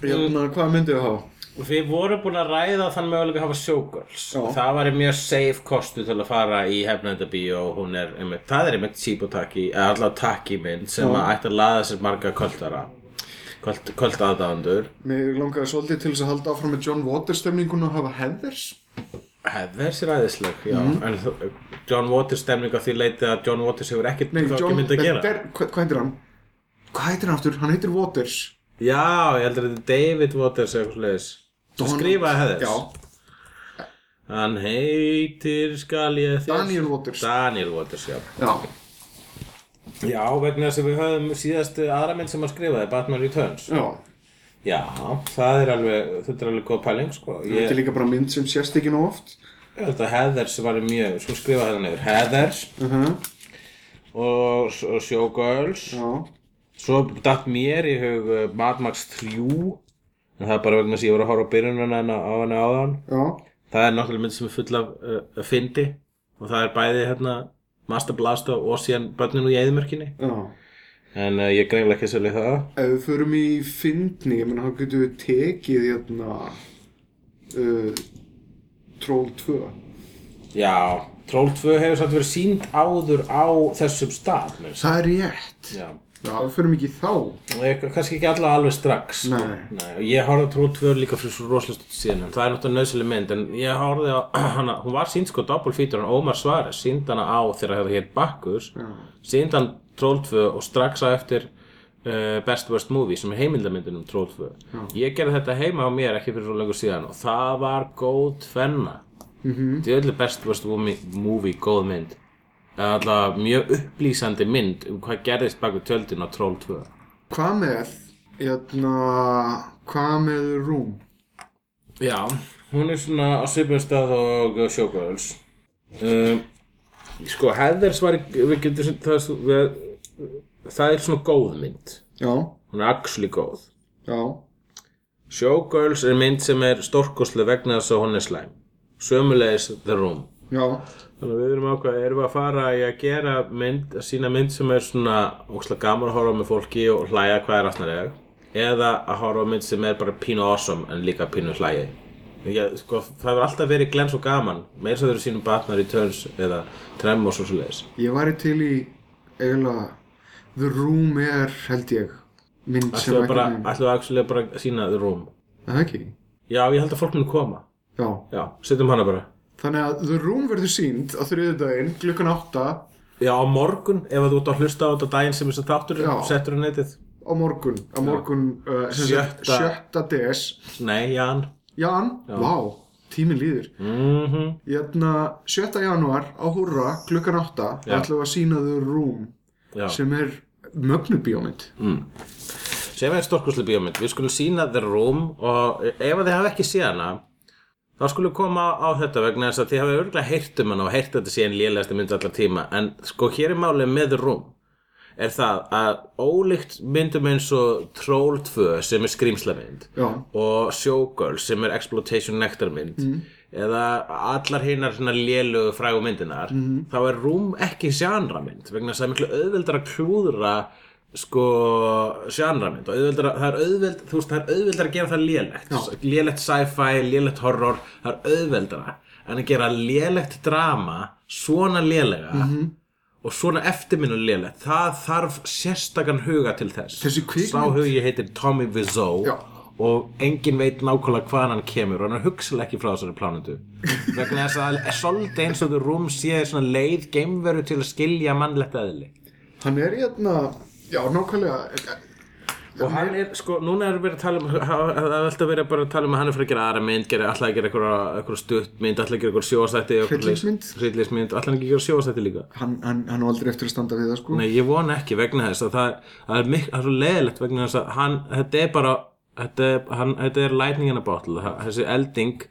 [SPEAKER 3] Jæna, Hérna, hvað myndið við hafa?
[SPEAKER 2] Við vorum búin að ræða þann mögulega að hafa showgirls.
[SPEAKER 3] Já.
[SPEAKER 2] Það var mjög safe kostu til að fara í hefnendabíó og hún er, einmitt, það er einmitt síbotaki, eða allavega taki mynd sem að ætti að laða sér marga kvöldara, kvöld, kvöldaðdæðandur.
[SPEAKER 3] Mér langaði svolítið til þess að halda áfram með John Waters stemningun og hafa Heathers.
[SPEAKER 2] Heather sér æðisleg, já,
[SPEAKER 3] Mhm.
[SPEAKER 2] en þ- John Waters stemning á því leiti að John Waters hefur ekkert þá ekki mynd að
[SPEAKER 3] eh,
[SPEAKER 2] gera.
[SPEAKER 3] Der, hvað, hvað heitir hann? Hvað heitir hann aftur? Hann heitir Waters.
[SPEAKER 2] Já, ég heldur að þetta er David Waters eitthvað slags
[SPEAKER 3] Donald.
[SPEAKER 2] Skrifaði hefðis
[SPEAKER 3] Já,
[SPEAKER 2] Hann heitir skal ég þess
[SPEAKER 3] Daniel Waters.
[SPEAKER 2] Daniel Waters, já
[SPEAKER 3] já,
[SPEAKER 2] Já, vegna þess að við höfum síðast aðra mynd sem að skrifaði Batman Returns
[SPEAKER 3] já.
[SPEAKER 2] Já, það er alveg, þetta er alveg góð pæling sko
[SPEAKER 3] Þetta er
[SPEAKER 2] Ég,
[SPEAKER 3] líka bara mynd sem sérst ekki nóg oft.
[SPEAKER 2] ég held að Heathers var mjög, sko skrifa hérna niður Heathers
[SPEAKER 3] Uh -huh.
[SPEAKER 2] og, og Showgirls
[SPEAKER 3] Já,
[SPEAKER 2] Svo datt mér í hug uh, Mad Max 3 En það er bara vegna þess að ég var að horfa á byrjununa hennar- á henni áðan
[SPEAKER 3] já,
[SPEAKER 2] Það er náttúrulega mynd sem er full af uh, fyndi og það er bæði hérna Master Blaster og síðan börnin úr jæðumörkinni
[SPEAKER 3] já.
[SPEAKER 2] en uh, ég greinlega ekki svolítið það
[SPEAKER 3] Ef við förum í fyndni, ég menna, þá getum við tekið hérna uh, Troll 2.
[SPEAKER 2] Já, Troll 2 hefur samt verið sínd áður á þessum stað með þess
[SPEAKER 3] Það er rétt.
[SPEAKER 2] Já,
[SPEAKER 3] Já, við förum ekki í þá.
[SPEAKER 2] og ég, kannski ekki alla alveg strax sko.
[SPEAKER 3] Nei.
[SPEAKER 2] Nei, og ég horfði á Troll 2 líka fyrir svo rosalegt síðan en það er náttúrulega nöðsileg mynd en ég horfði á hana, hún var sínd sko doppel fítur en Ómar Svares sínd hana á þegar þetta hér Bakkus
[SPEAKER 3] Já,
[SPEAKER 2] sínd hann Troll 2 og strax á eftir uh, Best Worst Movie sem er heimildamyndin um Troll 2 ég gerði þetta heima á mér ekki fyrir svo lengur síðan og það var góð tvenna mm -hmm. djöðlega Best Worst Movie, movie góð mynd Það er alltaf mjög upplýsandi mynd um hvað gerðist bak við tjöldin á Troll 2
[SPEAKER 3] hvað með, hérna, hvað með Room?
[SPEAKER 2] Já, hún er svona á svipum stað og uh, Showgirls um, Sko, Heathers var í- við getum það, er svo- við, það er svona góð mynd
[SPEAKER 3] Já,
[SPEAKER 2] hún er actually góð
[SPEAKER 3] já,
[SPEAKER 2] Showgirls er mynd sem er stórkoslega vegna þess að hún er slæm sömulegis The Room
[SPEAKER 3] já,
[SPEAKER 2] Þannig að við erum ákvað, erum við að fara í að gera mynd, að sína mynd sem er svona óslega gaman að horfa á með fólki og hlæja hvað er aftnarlega eða að horfa á mynd sem er bara pínu awesome en líka pínu hlæja Ég, sko, það hefur alltaf verið glens og gaman meir svo þeir eru sínum batnar í törns eða trem og svo svo leiðis
[SPEAKER 3] ég væri til í, eiginlega, The Room er, held ég, mynd sem
[SPEAKER 2] Ætlum við bara,
[SPEAKER 3] einhvern veginn-
[SPEAKER 2] ætlum við actually bara að sína The Room
[SPEAKER 3] Er Það ekki,
[SPEAKER 2] Já, ég held að fólk muni koma
[SPEAKER 3] já.
[SPEAKER 2] Já, setjum hana bara
[SPEAKER 3] Þannig að The Room verður sínd á þriðjudaginn klukkan 8 á
[SPEAKER 2] Já, á morgun, ef þú ert að hlusta á þetta daginn sem þess að þáttur
[SPEAKER 3] Já.
[SPEAKER 2] settur á netið
[SPEAKER 3] morgun, á morgun uh, sem sagt,
[SPEAKER 2] Sjötta.
[SPEAKER 3] sjötta DS.
[SPEAKER 2] Nei, Jan
[SPEAKER 3] Jan, vá, tíminn líður.
[SPEAKER 2] mm
[SPEAKER 3] Jæna, 7. januar á Hurra klukkan 8
[SPEAKER 2] Já.
[SPEAKER 3] ætlum við að sína The Room
[SPEAKER 2] Já. Mm.
[SPEAKER 3] sem er mögnubíómynd.
[SPEAKER 2] sem er stórkoslu bíómynd við skulum sína The Room og ef að þið hafa ekki séð hana þá skulum koma á þetta vegna þess að þið hafa örgulega heyrt um hana og heyrt að þetta sé en lélegasti mynd allar tíma en sko hér er málið með The Room er það að ólíkt myndum eins og Troll 2 sem er skrýmslamynd
[SPEAKER 3] Já,
[SPEAKER 2] og Showgirls sem er exploitation nektarmynd
[SPEAKER 3] Mhm.
[SPEAKER 2] eða allar hinar svona lélugu frægu myndinar
[SPEAKER 3] Mhm.
[SPEAKER 2] þá er Room ekki sjanramynd vegna þess að það er miklu auðveldar að klúðra sko sjanramynd og auðveldara, það er auðveld þú veist það er auðveldar að gera það lélegt
[SPEAKER 3] Já.
[SPEAKER 2] lélegt sci-fi, lélegt horror það er auðveldara en að gera lélegt drama svona lélega
[SPEAKER 3] Mhm.
[SPEAKER 2] og svona eftirminnulega það þarf sérstakann huga til þess
[SPEAKER 3] Þessi kvikmynd-
[SPEAKER 2] sá hugi heitir Tommy Wiseau
[SPEAKER 3] Já.
[SPEAKER 2] og enginn veit nákvæmlega hvaðan hann kemur og hann hugsaði ekki frá þessari plánutu vegna þess að það er svolítið eins og þú rúm sé svona leið geimveru til að skilja mannlegt eðli
[SPEAKER 3] hann er jæna, já, nákvæmlega,
[SPEAKER 2] og hann er, sko, núna er verið að tala um ha- það er alltaf verið bara að tala um að hann er fyrir að gera aðra mynd gera, alltaf að gera eitthvað stuttmynd alltaf að gera eitthvað sjóastætti
[SPEAKER 3] Hryllingsmynd.
[SPEAKER 2] hryllingsmynd, alltaf að gera sjóastætti líka
[SPEAKER 3] hann, hann, hann á aldrei eftir að standa við það sko.
[SPEAKER 2] Nei, ég vona ekki vegna þess að það, það er miklu, það er svo leðilegt vegna þess að hann, þetta er bara, þetta er, hann, þetta er lightning in a bottle, það, þessi elding,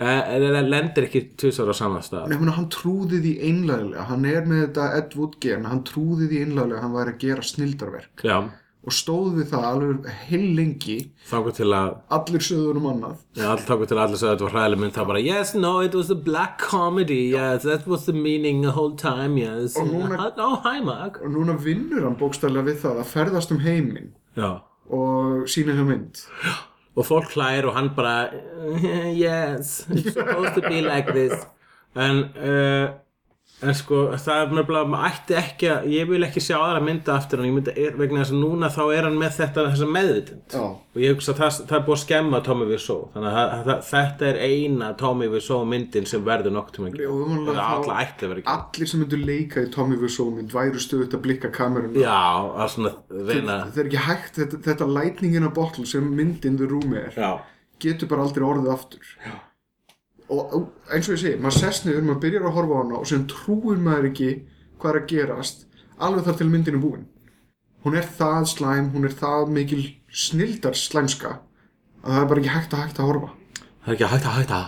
[SPEAKER 2] eða það lendir ekki tvisar á sama stað.
[SPEAKER 3] Nei, mena, hann trúði því einlægilega, hann er með þetta Ed Wood gen, hann trúði því einlægilega að hann væri að gera snildarverk
[SPEAKER 2] Já,
[SPEAKER 3] og stóð við það alveg heil lengi,
[SPEAKER 2] þákuð til að,
[SPEAKER 3] allir sögðunum annað.
[SPEAKER 2] já, all, þákuð til að allir sagði að þetta var hræðileg mynd, það bara, yes, no, it was a black comedy, yes, that was the meaning the whole time, yes,
[SPEAKER 3] Og núna-
[SPEAKER 2] oh, hi, Mark.
[SPEAKER 3] Og núna vinnur hann bókstæðlega við það að ferðast um heiminn
[SPEAKER 2] Já.
[SPEAKER 3] og sína hjá mynd.
[SPEAKER 2] og fólk hlægir og hann bara "Eh, yes, it's supposed to be like this en uh, En sko, það er nefnilega, maður ætti ekki að, ég vil ekki sjá aðra mynda aftur hann, ég myndi, er, vegna þess að núna þá er hann með þetta, þessa meðvitund.
[SPEAKER 3] Já.
[SPEAKER 2] Og ég hugsa að það, það er búið að skemma Tommy Wiseau, þannig að það, það, þetta er eina Tommy Wiseau myndin sem verður nokk til mikið.
[SPEAKER 3] Og
[SPEAKER 2] Það
[SPEAKER 3] vonlega þá-
[SPEAKER 2] alla ætti að vera ekki.
[SPEAKER 3] allir sem myndu leika í Tommy Wiseau mynd væru stöðut að blikka kamerun
[SPEAKER 2] Já, að svona reyna,
[SPEAKER 3] það er ekki hægt, þetta, þetta lightning in a bottle sem myndin the room er
[SPEAKER 2] já,
[SPEAKER 3] getur bara aldrei orðið aftur Já. og og eins og ég segi maður sest niður, maður byrjar að horfa á hana og sem trúir maður ekki hvað er að gerast alveg þar til myndin er búin hún er það slæm, hún er það mikil snildar slæmska að það er bara ekki hægt að hægt að horfa
[SPEAKER 2] það er ekki að hætta að hætta.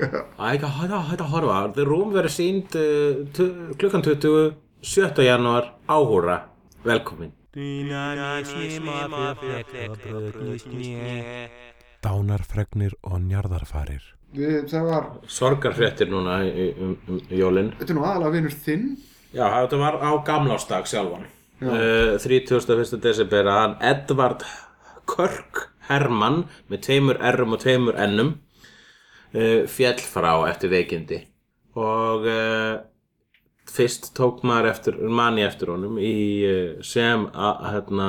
[SPEAKER 2] Það er ekki að hætta að hætta að horfa. The Room verður sínd uh, tu- klukkan 20, 7. janúar, áhúra. Velkomin.
[SPEAKER 4] Dánarfregnir og njarðarfarir.
[SPEAKER 3] Við, það var,
[SPEAKER 2] Sorgarfréttir núna í- í- um, um jólinn.
[SPEAKER 3] þetta er nú aðalega vinur þinn
[SPEAKER 2] Já, þetta var á gamlástag sjálfan
[SPEAKER 3] Já.
[SPEAKER 2] uh, 31. desember að hann Edvard Körk Hermann með tveimur R-um og tveimur N-um uh, fjall frá eftir veikindi og uh, fyrst tók maður eftir manni eftir honum í, uh, sem að hérna,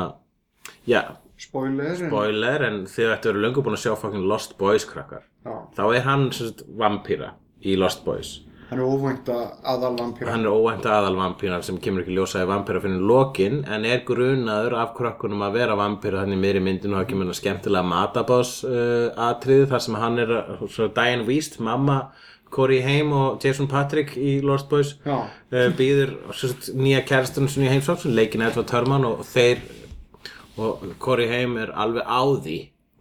[SPEAKER 2] já,
[SPEAKER 3] spoiler, en-
[SPEAKER 2] boiler en þið ættu að vera löngu búin að sjá fucking Lost Boys krakkar
[SPEAKER 3] Já,
[SPEAKER 2] þá er hann sem sagt vampíra í Lost Boys
[SPEAKER 3] hann er óvænt aðal vampíra
[SPEAKER 2] hann er óvænt aðal vampíran sem kemur ekki ljósaði vampíra fyrir lokin en er grunaður af krökkunum að vera vampíra þannig meðri myndin og það kemur hann skemmtilega matabás uh, atriði þar sem hann er að- svo Diane Wiest, mamma Corey Haim og Jason Patrick í Lost Boys
[SPEAKER 3] Já.
[SPEAKER 2] uh, býður svo sagt, nýja kærastunum sem ég heimsótt sem leikin Edvard Törmann og þeir og Corey Haim er alveg á því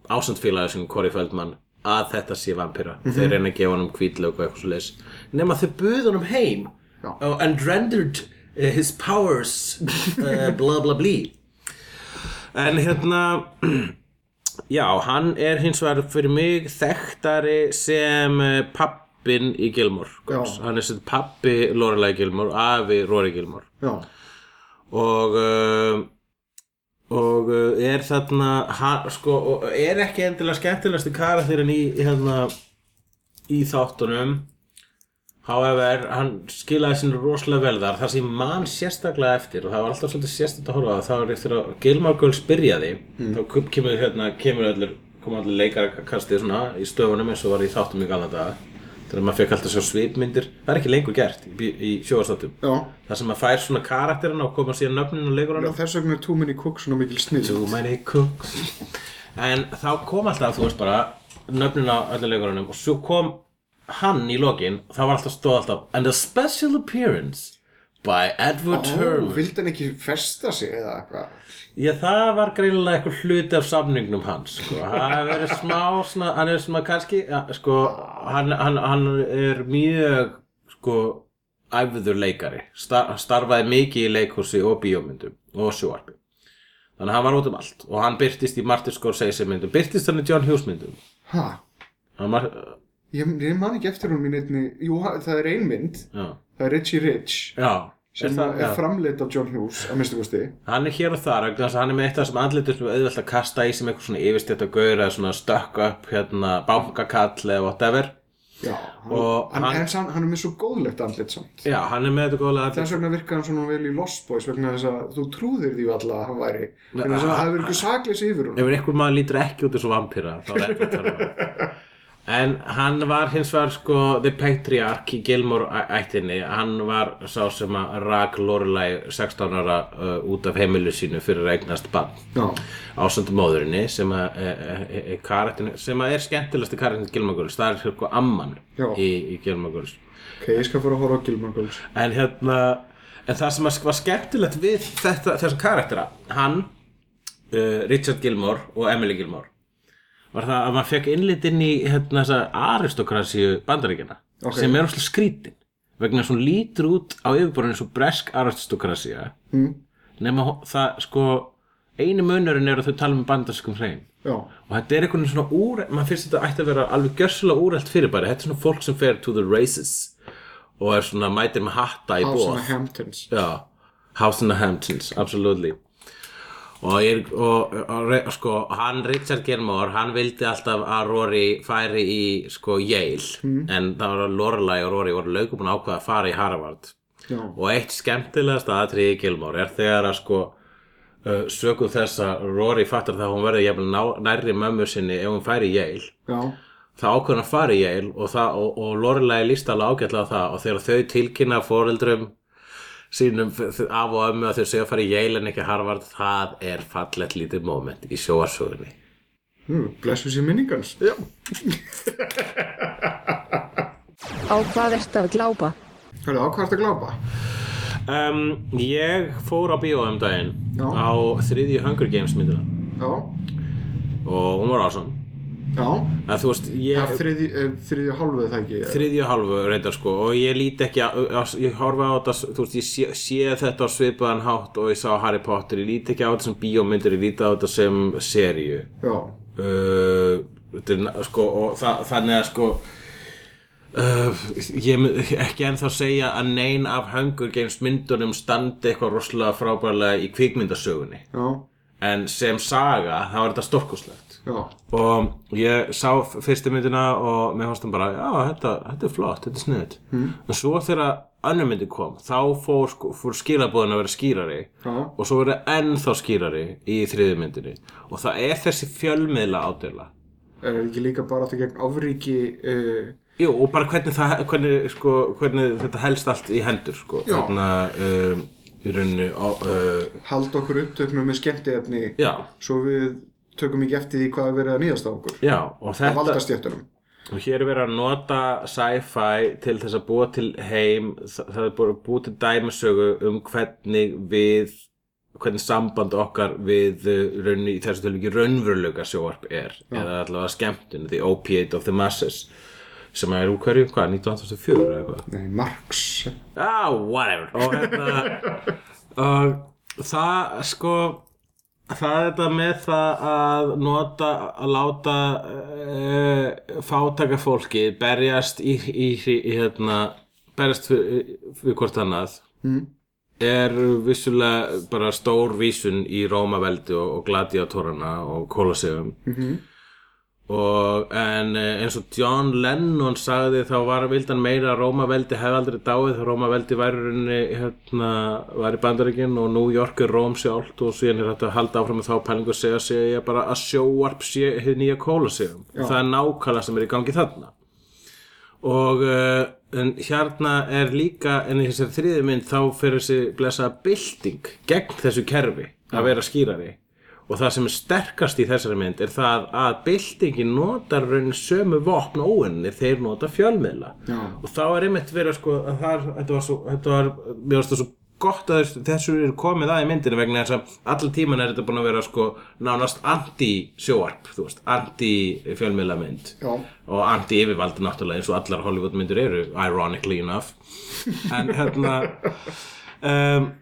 [SPEAKER 2] ásandfélagið sinni Corey Feldman að þetta sé vampíra þeir reyna að gefa honum hvítlög og eitthvað svo leys nema þau buðu honum heim
[SPEAKER 3] Já.
[SPEAKER 2] oh, and rendered uh, his powers uh, blah blah blah en hérna já, hann er hins vegar fyrir mig þekktari sem eh, pappinn í Gilmore Girls.
[SPEAKER 3] Já.
[SPEAKER 2] hann er sem pappi Lorelai Gilmore afi Rory Gilmore
[SPEAKER 3] Já,
[SPEAKER 2] og uh, og uh, er þarna hann, sko, og er ekki endilega skemmtilegasti karakterinn í, í hérna í þáttunum however, hann skilaði sinni rosalega vel þar, það sem ég man sérstaklega eftir og það var alltaf svolítið sérstaklega að horfa á það það var eftir að Gilmar Girls byrjaði þá kum- kemur hérna, kemur allir koma allir leikarkastið svona í stöfunum eins og var í þáttum í galna daga þegar maður fekk alltaf svo svipmyndir það er ekki lengur gert í, bí- í sjóðastáttum
[SPEAKER 3] já
[SPEAKER 2] Það sem að fær svona karakterina og koma síðan nöfninu og leikur hann
[SPEAKER 3] Þess vegna er Too Many Cooks svona mikil snill
[SPEAKER 2] Too many cooks En þá kom alltaf, þú veist bara, nöfninu á öllu leikurunum og svo kom hann í lokin og það var alltaf stóð alltaf And a special appearance by Edward
[SPEAKER 3] Ó,
[SPEAKER 2] Herman
[SPEAKER 3] vildi hann ekki festa sig eða eitthvað
[SPEAKER 2] Já, það var greinilega eitthvað hluti af samningnum hans sko. Það hefur verið smá, svona, hann er svona kannski ja, sko, hann, hann, hann er mjög sko, æfður leikari Star, starfaði mikið í leikhúsi og bíómyndum og sjóarpi Þannig að hann var út um allt og hann byrtist í Martin Scorsese myndum byrtist hann í John Hughes myndum
[SPEAKER 3] Ha,
[SPEAKER 2] Hann var,
[SPEAKER 3] ég, ég man ekki eftir hún mín einni Jú, ha- það er ein mynd
[SPEAKER 2] já,
[SPEAKER 3] Það er Richie Rich
[SPEAKER 2] já
[SPEAKER 3] sem
[SPEAKER 2] það-
[SPEAKER 3] er
[SPEAKER 2] já.
[SPEAKER 3] framleitt af John Hughes að minnstu kosti
[SPEAKER 2] Hann er hér og þar, vegna þess að hann er með eitt af þessum andlitum sem er auðvelt að kasta í sem eitthvað svona yfirstjætt að gauður eða svona stökka upp hérna bankakall eða whatever.
[SPEAKER 3] Já,
[SPEAKER 2] Og
[SPEAKER 3] hann,
[SPEAKER 2] hann-
[SPEAKER 3] hann, hann, hann er með svo góðlegt andlit samt
[SPEAKER 2] Já, hann er með þetta góðlega andlit.
[SPEAKER 3] Þess vegna virkaði hann svona vel í Lost Boys vegna þess að þú trúðir því alltaf að hann væri vegna þess að það hefur ykkur sakleis yfir hún
[SPEAKER 2] Ef einhver maður lítur ekki út eins og vampýra, þá er þetta þannig. En hann var hins vegar sko The Patriarch í Gilmore æ- ættinni, hann var sá sem að rak Lorelai 16 ára uh, út af heimilu sínu fyrir að eignast bann
[SPEAKER 3] Já,
[SPEAKER 2] ásöndu móðurinni sem að e, e, e, karatinu, sem að er skemmtilegasti karatinu í Gilmore Girls, það er sko amman
[SPEAKER 3] Já.
[SPEAKER 2] í, í Gilmore Girls.
[SPEAKER 3] ok, ég skal fara að horfa á Gilmore Girls
[SPEAKER 2] en hérna en það sem var skemmtilegt við þetta, þessum karaktera hann, uh, Richard Gilmore og Emily Gilmore var það að maður fekk innlit inn í hérna, þessa aristokrasíu bandaríkjana
[SPEAKER 3] Ok.
[SPEAKER 2] sem er óslega skrítin vegna þess að hún lítur út á yfirborðinu svo bresk aristokrasía
[SPEAKER 3] Mm.
[SPEAKER 2] nema hó- það sko einu munurinn er að þau tala um bandarskum hrein
[SPEAKER 3] Já,
[SPEAKER 2] og þetta er einhvern veginn svona úr maður finnst þetta ætti að vera alveg gjörsulega úrælt fyrirbæri þetta er svona fólk sem fer to the races og er svona mætir með hatta í
[SPEAKER 3] House
[SPEAKER 2] bóð
[SPEAKER 3] of Hamptons
[SPEAKER 2] Já, House in the Hamptons, absolutely og, ég, og, og, og sko, hann Richard Gilmore hann vildi alltaf að Rory færi
[SPEAKER 3] Hmm.
[SPEAKER 2] í sko Yale en það var að Lorelai og Rory voru lögum búin að ákveða að fara í Harvard
[SPEAKER 3] já,
[SPEAKER 2] Og eitt skemmtilegasta atriði í Gilmore er þegar að sko uh, sökuð þess að Rory fattar það að hún verði jafnvel ná- nærri mömmu sinni ef hún færi í Yale
[SPEAKER 3] já,
[SPEAKER 2] það ákveðan að fara í Yale og, það- og, og Lorelai líst alveg ágætlega á það og þegar þau tilkynna foreldrum sínum f- f- af og ömmu að þau séu að fara í Yale en ekki Harvard það er fallegt lítið moment í sjóarsögunni
[SPEAKER 3] mm, blessu sér minningans já.
[SPEAKER 5] Á hvað ert að glápa?
[SPEAKER 3] Hörðu, á hvað ertu að glápa?
[SPEAKER 2] um, Ég fór á bíó um daginn
[SPEAKER 3] Já.
[SPEAKER 2] á þriðju Hunger Games myndina
[SPEAKER 3] Já,
[SPEAKER 2] og hún var ásam
[SPEAKER 3] já,
[SPEAKER 2] að þú veist ég
[SPEAKER 3] það er þriðju, eh, þriðju hálfuð það ekki
[SPEAKER 2] þriðju hálfu reyndar sko og ég líti ekki að, að ég horfa á þetta, þú veist, ég sé, sé þetta á svipaðan hátt og ég sá Harry Potter ég líti ekki á þetta sem bíómyndir, ég líti á þetta sem seríu
[SPEAKER 3] Já,
[SPEAKER 2] uh, þetta er na- sko, og það, þannig að sko uh, ég mun ekki ennþá segja að nein af Hunger Games myndunum standi eitthvað rosalega frábærlega í kvikmyndasögunni
[SPEAKER 3] já,
[SPEAKER 2] en sem saga þá er þetta stórkoslegt
[SPEAKER 3] já,
[SPEAKER 2] og ég sá f- fyrstu myndina og mér fannst hann bara, já, þetta, þetta er flott, þetta er sniðut
[SPEAKER 3] Hmm.
[SPEAKER 2] en svo þegar önnur myndi kom þá fór, sko- fór skilabóðin að vera skýrari
[SPEAKER 3] Já.
[SPEAKER 2] og svo verið ennþá skýrari í þriðju myndinni og það er þessi fjölmiðla ádela
[SPEAKER 3] er það ekki líka bara þetta gegn ofríki uh,
[SPEAKER 2] Jú, og bara hvernig, það, hvernig, sko, hvernig þetta helst allt í hendur sko.
[SPEAKER 3] Já.
[SPEAKER 2] um, í rauninni á, uh,
[SPEAKER 3] halda okkur upptöknum með skemmtiefni
[SPEAKER 2] já,
[SPEAKER 3] svo við tökum ekki eftir því hvað er verið að nýðast á okkur
[SPEAKER 2] já og
[SPEAKER 3] að
[SPEAKER 2] þetta,
[SPEAKER 3] valda stjættunum
[SPEAKER 2] Og hér er verið að nota sci-fi til þess að búa til heim, þa- það er búið búið til dæmisögu um hvernig við, hvernig samband okkar við uh, raunni, í þessu tilvíki raunveruleika sjóvarp er, eða allavega skemmtun, the opiate of the masses, sem er úr hverju, hvað, 1984 eða eitthvað?
[SPEAKER 3] Nei, Marx
[SPEAKER 2] ah, whatever og hérna og það sko það er þetta með það að nota, að láta uh, fátaka fólki berjast í, í, í, í hérna, berjast við, við hvort annað
[SPEAKER 3] Mm.
[SPEAKER 2] er vissulega bara stór vísun í Rómaveldi og, og gladiatorana og kólasegum og en eh, eins og John Lennon sagði þá var vildan meira að Rómaveldi hefði aldrei dáið þá Rómaveldi væri í rauninni, hérna, var í bandaríkinn og New York er Róm sjálft og síðan er þetta að halda áfram með þá pælingu að segja sig ég bara að sjóarp sé hið nýja kóla sig það er nákvæmlega sem er í gangi þarna og uh, en hérna er líka en í þessari þriði mynd þá fyrir þessi blessa bylting gegn þessu kerfi að vera skýrari og það sem er sterkast í þessari mynd er það að byltingin notar raunin sömu vopn óinni þeir nota fjölmiðla
[SPEAKER 3] Já.
[SPEAKER 2] og þá er einmitt verið sko að það, þetta var svo, þetta var, mér varst það svo gott að þessu- þessu er komið að í myndinu vegna þess að allir tíman er þetta búin að vera sko nánast anti-sjóarp, þú veist, anti-fjölmiðla mynd
[SPEAKER 3] Já.
[SPEAKER 2] og anti-yfirvaldi náttúrulega eins og allar Hollywood myndir eru, ironically enough en hérna um,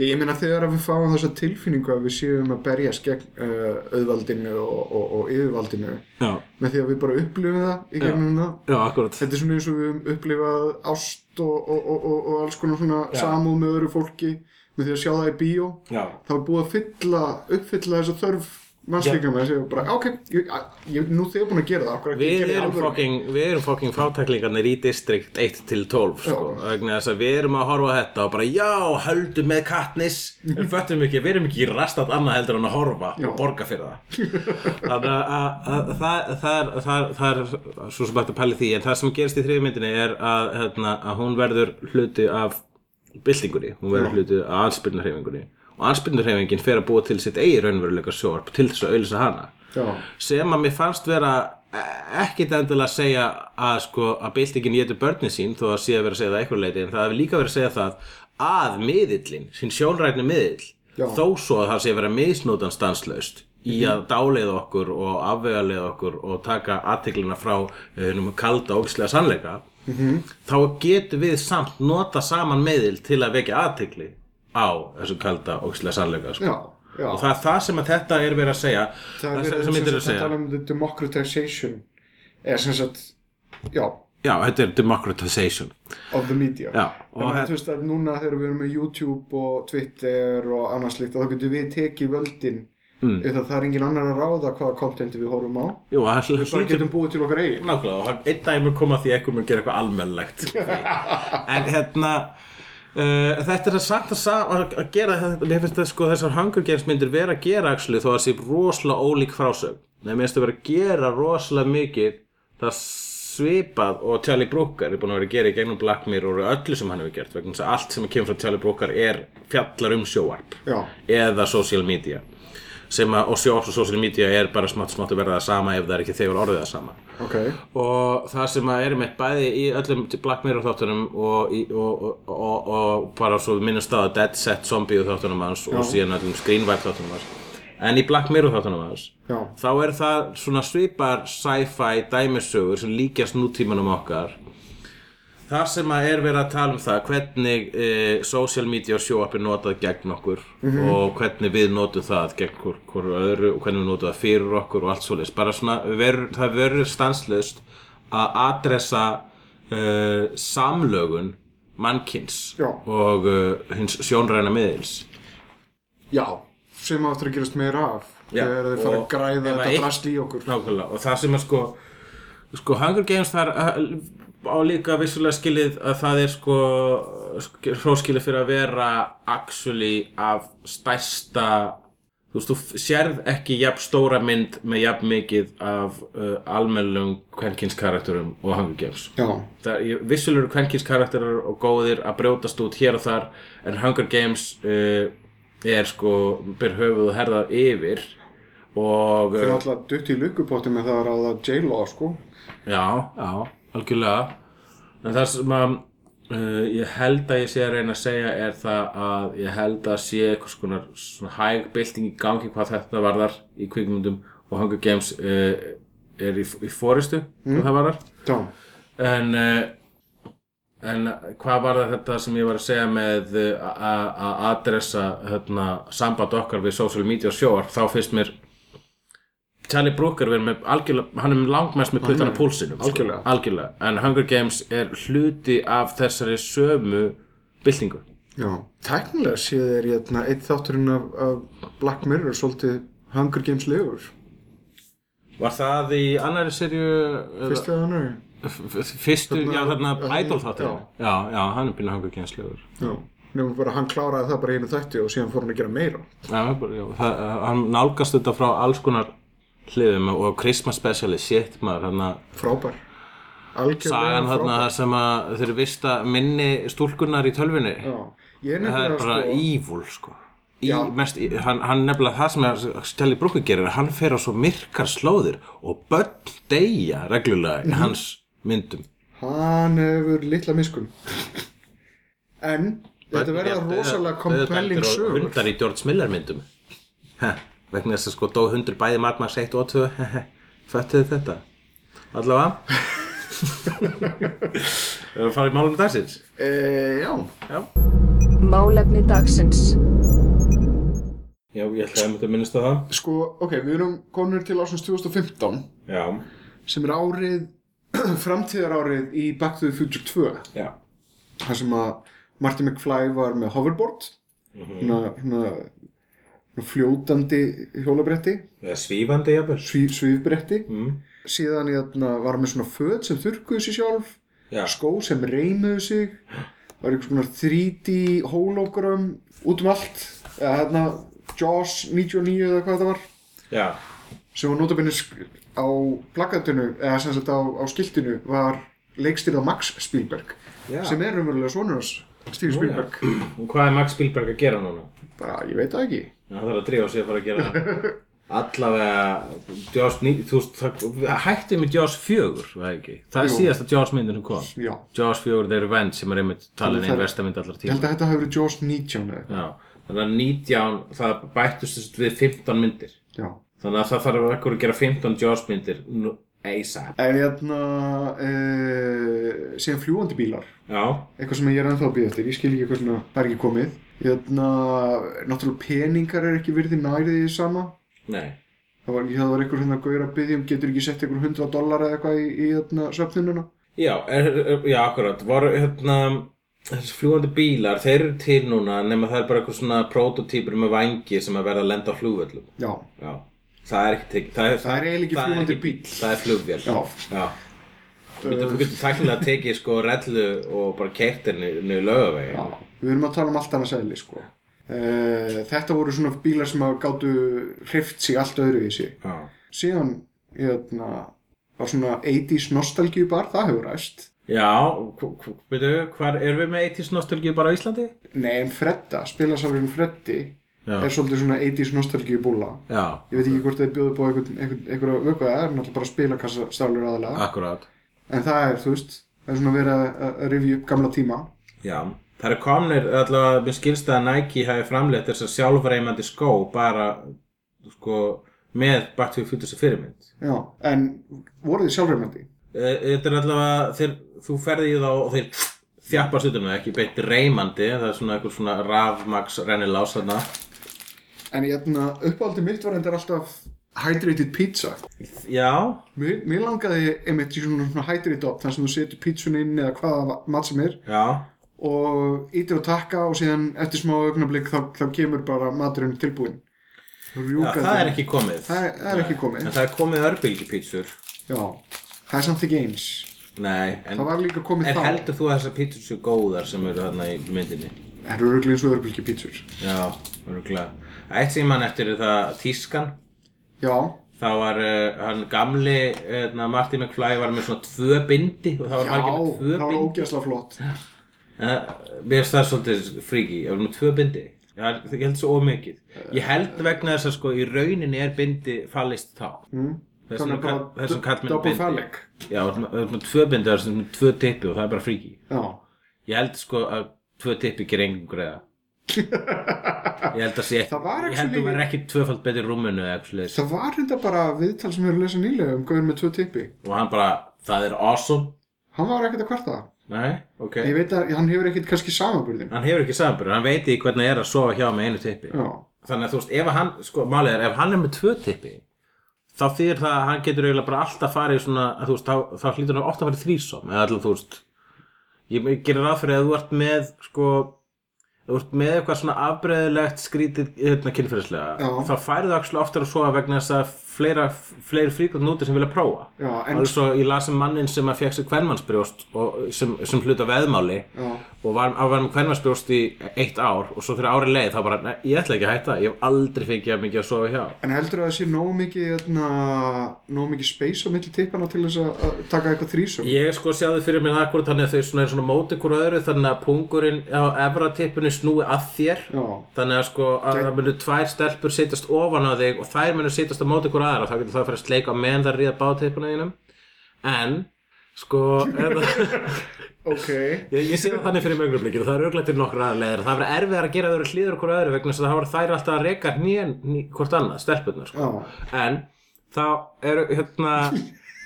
[SPEAKER 3] Ég, ég meina þegar að við fáum þessa tilfinningu að við séum að berjast gegn uh, auðvaldinu og, og, og yfirvaldinu
[SPEAKER 2] já,
[SPEAKER 3] með því að við bara upplifum það í gegnum það
[SPEAKER 2] já, akkurat
[SPEAKER 3] Þetta er svona eins og við höfum upplifað ást og, og, og, og, og alls konar svona samúð með öðru fólki með því að sjá það í bíó
[SPEAKER 2] Já.
[SPEAKER 3] þá er búið að fylla, uppfylla þessa þörf mannslíka með þessi bara ok, ég, ég, nú þegar búin að gera það okkur ekki
[SPEAKER 2] Við
[SPEAKER 3] gera
[SPEAKER 2] erum, fucking, við erum fucking fátæklingarnir í distrikt 1 til 12 sko, vegna þess að við erum að horfa á þetta og bara já, höldum með Katniss en föttum ekki, við erum ekki í rastat annað heldur en að horfa og borga fyrir það þannig að, að, að það, það, er, það, er, það er svo sem hægt að pæli því en það sem gerist í þriðmyndinni er að, hérna, að hún verður hluti af byltingunni, hún verður hluti af anspyrnarhefingunni og anspyrnarhefingin fer að búa til sitt eigi raunveruleika sjórp til þess að auðlýsa hana
[SPEAKER 3] Já,
[SPEAKER 2] sem að mér fannst vera eh, ekkit endilega að segja að sko að byltingin getur börnin sín þó að sé að vera að segja það eitthvað leiti en það hefur líka verið að segja það að miðillin, sín sjónrætni miðill
[SPEAKER 3] Já. Mhm.
[SPEAKER 2] þó svo að það sé að vera misnótan stanslaust í að dáleiða okkur og afvegaleiða okkur og taka aðteklina frá hennum kalda og ógislega sannleika
[SPEAKER 3] Mhm.
[SPEAKER 2] þá getum við samt nota saman miðil til að vekja aðtekli á þessu kalda og ógislega sannleika sko.
[SPEAKER 3] já, já
[SPEAKER 2] og það er það sem að þetta er verið að segja
[SPEAKER 3] það er
[SPEAKER 2] sem- sem
[SPEAKER 3] verið sem
[SPEAKER 2] myndir
[SPEAKER 3] sagt
[SPEAKER 2] að segja
[SPEAKER 3] að tala um the democratization eða sem sagt, já
[SPEAKER 2] Já, þetta er democratization
[SPEAKER 3] of the media
[SPEAKER 2] Já, og
[SPEAKER 3] Þannig
[SPEAKER 2] hér-
[SPEAKER 3] að þú veist að núna þegar við erum með YouTube og Twitter og annars líkt þá getum við tekið völdin mm. eða það er engin annar að ráða hvaða kontenti við horfum á
[SPEAKER 2] Jú, það
[SPEAKER 3] við bara
[SPEAKER 2] hlýtur
[SPEAKER 3] getum búið til okkar eigin
[SPEAKER 2] nákvæmlega og hann- einn dag mun koma að því að eitthvað mun gera eitthvað almennlegt en hérna Uh, þetta er það samt að, sa að að gera þetta, ég finnst að sko, þessar Hunger Games myndir vera að gera axlu þó að það sé rosalega ólík frásögn Nei, mér finnst að vera að gera rosalega mikið það svipað og Charlie Brooker er búin að vera að gera í gegnum Black Mirror og öllu sem hann hefur gert vegna þess að allt sem kemur frá Charlie Brooker er fjallar um sjóvarp
[SPEAKER 3] Já.
[SPEAKER 2] eða social media sem að, og sjóvarp og social media er bara smátt smátt að verða það sama ef það er ekki þegar orðið það sama
[SPEAKER 3] ok,
[SPEAKER 2] og það sem að erum eitt bæði í öllum Black Mirror þáttunum og, í- og, og, og, og bara svo við minnum staða Dead Set Zombie þáttunum hans og síðan öllum Screenvibe þáttunum hans en í Black Mirror þáttunum hans
[SPEAKER 3] já,
[SPEAKER 2] þá er það svona svipar sci-fi dæmisögur sem líkjast nútímanum okkar þar sem að er verið að tala um það hvernig e, social media og sjóapp er notað gegn okkur og hvernig við notum það gegn hver, hver öðru og hvernig við notum það fyrir okkur og allt svoleiðis bara svona, ver, það verður stanslust að adressa e, samlögun mannkins
[SPEAKER 3] Já.
[SPEAKER 2] og e, hins sjónræna miðils
[SPEAKER 3] já sem áttur að gerast meira af
[SPEAKER 2] Já,
[SPEAKER 3] þegar þeir fara að
[SPEAKER 2] og
[SPEAKER 3] græða
[SPEAKER 2] ef að
[SPEAKER 3] þetta
[SPEAKER 2] eitt-
[SPEAKER 3] drast í okkur
[SPEAKER 2] Nákvæmlega, og það sem er sko sko Hunger Games þar uh, á líka vissulega skilið að það er sko hróskilið fyrir að vera actually af stærsta þú veist, þú sérð ekki jafn stóra mynd með jafn mikið af uh, almennlum kvenkins karakterum og Hunger Games
[SPEAKER 3] já,
[SPEAKER 2] það, ég- vissulega eru kvenkins karakterar og góðir að brjótast út hér og þar en Hunger Games uh, er sko, ber höfuð og herðar yfir og eh,
[SPEAKER 3] þeir eru alltaf dutt í lukkupotti með það að ráða J-Law sko
[SPEAKER 2] Já, já, algjörlega En það sem að uh, ég held að ég sé að reyna að segja er það að ég held að sé eitthvað skonar svona hæg bylting í gangi hvað þetta varðar í kvikmyndum og Hunger Games uh, er í, í fóristu hvað það varðar
[SPEAKER 3] já,
[SPEAKER 2] en, uh, en hvað var það þetta sem ég var að segja með uh, a- a- að adressa hérna, samband okkar við social media og sjóar þá finnst mér Charlie Brooker verið með algjörlega, hann er langmest með puttana púlsinum sko.
[SPEAKER 3] algjörlega.
[SPEAKER 2] algjörlega, en Hunger Games er hluti af þessari sömu byltingu
[SPEAKER 3] já teknilega séð er hérna eitt þátturinn af, af Black Mirror svolítið Hunger Games legur
[SPEAKER 2] Var það í annari serju
[SPEAKER 3] fyrst eða annar
[SPEAKER 2] fyrstu,
[SPEAKER 3] Þarna-
[SPEAKER 2] já þarna
[SPEAKER 3] þarna-
[SPEAKER 2] Idol þáttir já, já, hann er býnað Hunger Games legur
[SPEAKER 3] já, nefnum bara hann kláraði það bara í einu þætti og síðan fór hann að gera meira
[SPEAKER 2] Já, bara, já, það, uh, hann nálgast þetta frá alls konar hliðum og Christmas speciali, shit maður, hann að
[SPEAKER 3] frábær algjörlega
[SPEAKER 2] sagan þarna þar sem að þeir vista minni stúlkunar í tölvinni
[SPEAKER 3] já, ég er
[SPEAKER 2] það er
[SPEAKER 3] nefnilega
[SPEAKER 2] bara
[SPEAKER 3] sko
[SPEAKER 2] evil sko Í,
[SPEAKER 3] Já.
[SPEAKER 2] mest, í- hann, hann nefnilega það sem að Stelli Brooker gerir, hann fer á svo myrkar slóðir og börn deyja reglulega
[SPEAKER 3] Mhm.
[SPEAKER 2] í hans myndum
[SPEAKER 3] Hann hefur litla miskun En þetta
[SPEAKER 2] Börn
[SPEAKER 3] verða
[SPEAKER 2] eru
[SPEAKER 3] rosalega
[SPEAKER 2] dauðadæmdir
[SPEAKER 3] compelling
[SPEAKER 2] og
[SPEAKER 3] sögur
[SPEAKER 2] hundar í George Miller myndum ha, vegna þess að sko dó hundur bæði matmars 1 og 2 föttuðu þetta allavega erum við að fara í málum dagsins
[SPEAKER 3] e, Já,
[SPEAKER 5] Málefni dagsins.
[SPEAKER 2] já ég ætlaði að mynda að minnast á það
[SPEAKER 3] sko, ok, við erum konur til ásins 2015
[SPEAKER 2] já,
[SPEAKER 3] sem er árið, framtíðarárið í Back to the Future 2
[SPEAKER 2] já,
[SPEAKER 3] þar sem að Marty McFly var með hoverboard
[SPEAKER 2] Mhm.
[SPEAKER 3] hérna, hérna, hérna fljótandi hjólabretti
[SPEAKER 2] eða svífandi jafnvel
[SPEAKER 3] sví, svífbretti
[SPEAKER 2] mm.
[SPEAKER 3] síðan hérna, var hann með svona föt sem þurrkuðu sér sjálf
[SPEAKER 2] já, sko.
[SPEAKER 3] skó sem reymuðu sig það var einhvers konar 3D hologram út um allt eða hérna Jaws 99 eða hvað það var
[SPEAKER 2] já,
[SPEAKER 3] sem var notabinni á plakatinu eða sem sagt á, á skiltinu var leikstýrða Max Spielberg
[SPEAKER 2] Já.
[SPEAKER 3] sem er umverulega sonur hans Steve Spielberg
[SPEAKER 2] og hvað er Max Spielberg að gera núna?
[SPEAKER 3] bara ég veit það ekki
[SPEAKER 2] Já, það þarf að drífa sig að fara að gera það allavega Jaws 9, þú veist, það hætti með Jaws 4, var það ekki? Það er
[SPEAKER 3] Jú.
[SPEAKER 2] síðasta Jaws myndin sem kom
[SPEAKER 3] já
[SPEAKER 2] Jaws 4 The Revenge sem er einmitt talin
[SPEAKER 3] Þannig
[SPEAKER 2] einn
[SPEAKER 3] það-
[SPEAKER 2] versta mynd allra
[SPEAKER 3] ég held
[SPEAKER 2] tíma
[SPEAKER 3] að þetta hafi verið Jaws 19 eða
[SPEAKER 2] Já, þannig að 19, það bættust þess við 15 myndir
[SPEAKER 3] já
[SPEAKER 2] þannig að það þarf að ekkur að gera 15 Jaws myndir nú, ASAP
[SPEAKER 3] en hérna e, síðan fljúandi bílar
[SPEAKER 2] Já,
[SPEAKER 3] eitthvað sem ég er ennþá að býða eftir, ég skil ekki hvernig það er ekki komið Jötna, náttúrulega peningar er ekki virði nærið í sama
[SPEAKER 2] nei,
[SPEAKER 3] það var, það var eitthvað hérna gaur að byggja um getur ekki sett eitthvað 100 dólar eða eitthvað í, í hérna, jötna, svefnununa
[SPEAKER 2] já, er, er, já, akkurat voru hérna þessi fljúandi bílar, þeir eru til núna nema það er bara eitthvað svona prototýpur með vangi sem að verða að lenda á flugvöllum
[SPEAKER 3] já,
[SPEAKER 2] Já, það er ekki tekið Það er,
[SPEAKER 3] það er eiginlega ekki
[SPEAKER 2] það
[SPEAKER 3] fljúandi bíl
[SPEAKER 2] Það er flugvél
[SPEAKER 3] já,
[SPEAKER 2] Já. Þú getur þú getur tæknilega tekið sko rellu og bara keirt henni niður laugavegi
[SPEAKER 3] Já. Við erum að tala um allt annars eðli, sko. Uh, þetta voru svona bílar sem að gátu hrift sig allt öðru í sig.
[SPEAKER 2] Já.
[SPEAKER 3] Síðan, hérna, var svona 80s nostalgíu bar, það hefur ræst.
[SPEAKER 2] Já, veitu, hvar erum við með 80s nostalgíu bara á Íslandi?
[SPEAKER 3] Nei, en Fredda, spilasalurinn Freddi,
[SPEAKER 2] Já.
[SPEAKER 3] er svolítið svona 80s nostalgíu búla.
[SPEAKER 2] Já,
[SPEAKER 3] Ég veit ekki hvort þeir bjóðu búið einhverja vöku það er náttúrulega bara spilakassastálur aðalega.
[SPEAKER 2] akkurát.
[SPEAKER 3] En það er, þú veist, það er svona verið að- að að rifja upp gamla tíma.
[SPEAKER 2] Já, það eru komnir, allavega, mér skilst að Nike hafi framleitt þess að sjálfreimandi skó bara, sko, með Battlefield fyrir þessu fyrirmynd.
[SPEAKER 3] Já, en voru þið sjálfreymandi?
[SPEAKER 2] Eh, Þetta er allavega, þeir, þú ferði í þá og þeir þjappast utan það, ekki beint reimandi, það er svona einhver svona rafmags rennilás þarna.
[SPEAKER 3] En hérna, uppáldi mitt var endur alltaf hydrated pizza.
[SPEAKER 2] Já,
[SPEAKER 3] Mér, mér langaði einmitt í svona, svona hydrated op, þar sem þú setur pítsun inn eða hvaða va- mat sem er
[SPEAKER 2] já,
[SPEAKER 3] og ítir og takka og síðan eftir smá augnablík þá, þá kemur bara maturinn tilbúinn.
[SPEAKER 2] já
[SPEAKER 3] Rjúkandi.
[SPEAKER 2] það er ekki komið.
[SPEAKER 3] Það er, það er ekki komið.
[SPEAKER 2] En það er komið örbylgjupítsur.
[SPEAKER 3] Já, það er samt ekki eins.
[SPEAKER 2] Nei, en...
[SPEAKER 3] Það var líka komið
[SPEAKER 2] En
[SPEAKER 3] þá.
[SPEAKER 2] heldur þú að þessar pítsur séu góðar sem eru þarna í myndinni?
[SPEAKER 3] Það eru örgulega eins og örbylgi pítsur.
[SPEAKER 2] Já, örgulega. Eitt sem ég mann eftir er það tískan.
[SPEAKER 3] Já,
[SPEAKER 2] Þá var uh, hann gamli, hérna, Marty McFly var með svona tvö bindi og það var
[SPEAKER 3] já,
[SPEAKER 2] margir með tvö
[SPEAKER 3] það var
[SPEAKER 2] bindi.
[SPEAKER 3] ógeðslega flott.
[SPEAKER 2] En það- Eh, Mér finnst það svolítið fríki, ég var með tvö bindi. Já, ég held svo ómikið. Ég held vegna þess að sko í rauninni er bindi fallist tá. Mm. Þessum,
[SPEAKER 3] Þannig
[SPEAKER 2] kall,
[SPEAKER 3] Hmm? bara
[SPEAKER 2] þessum kall minn
[SPEAKER 3] double phallic.
[SPEAKER 2] Já, það er með- það er með tvö bindi, það er svona tvö tippi og það er bara fríki.
[SPEAKER 3] Já.
[SPEAKER 2] Ég held sko að tvö tippi gerir engum greiða. Ég held að sé
[SPEAKER 3] Það var
[SPEAKER 2] Ég held
[SPEAKER 3] actually-
[SPEAKER 2] að vera ekki tvöfald betur rúminu eða eitthvað leðis.
[SPEAKER 3] Það var hérna bara viðtal sem við erum að lesa nýlega um gauðin með tvö tippi.
[SPEAKER 2] Og hann bara, það er awesome.
[SPEAKER 3] Hann var ekkert að kvarta það.
[SPEAKER 2] Nei, ok.
[SPEAKER 3] Ég veit að hann hefur ekkert kannski samanburðin.
[SPEAKER 2] Hann hefur ekki samanbyrður, hann veit í hvernig það er að sofa hjá með einu tippi.
[SPEAKER 3] Já.
[SPEAKER 2] Þannig að þú veist, ef að hann, sko, málið er, ef hann er með tvö tippi, þá þýðir það að hann getur eiginlega bara alltaf farið í svona, að þú veist, þá, þá hlýtur hann ofta að fara þrísom, eða alltaf, þú veist, ég ég gerir ráð fyrir að þú ert með, sko, þú ert með eitthvað svona afbreyðilegt skrítið, hérna, kynferðislega,
[SPEAKER 3] Já.
[SPEAKER 2] þá færðu það ofta að sofa vegna þess að fleira, fleiri fríkvæmt úti sem vilja prófa.
[SPEAKER 3] Já, en,
[SPEAKER 2] Alveg svo ég las um mannin sem að fekk sér kvenmannsbrjóst og sem, sem hluta veðmáli
[SPEAKER 3] Já.
[SPEAKER 2] og var, að var með kvenmannsbrjóst í eitt ár og svo þegar ári leið þá bara, nei, ég ætla ekki að hætta, ég hef aldrei fengið að mikið að sofa hjá.
[SPEAKER 3] en heldur að það sé nógu mikið, hérna, nógu mikið space á milli tippana til þess að- að taka eitthvað þrísum?
[SPEAKER 2] Ég sko sjáði fyrir mér akkur þannig að þau svona er svona móti hver öðru þannig að pungurinn á efra tippinu snúi að þér
[SPEAKER 3] Já.
[SPEAKER 2] þannig að sko að það munu tvær stelpur sittast ofan á þig og þær munu sittast á móti hver aðra þá getur það að fara að sleika á meðan það ríða bátippinu þínum en sko eða,
[SPEAKER 3] Ok.
[SPEAKER 2] Ég, ég sé það þannig fyrir mögnublikir og það er auðvitað til nokkur aðra leiðir. Það verður erfið að gera þau eru hlýður okkur öðru vegna þess að það voru þær alltaf að reyka hnýjan hný, hvort annað, stelpunar. Sko.
[SPEAKER 3] Já.
[SPEAKER 2] En þá eru, hérna,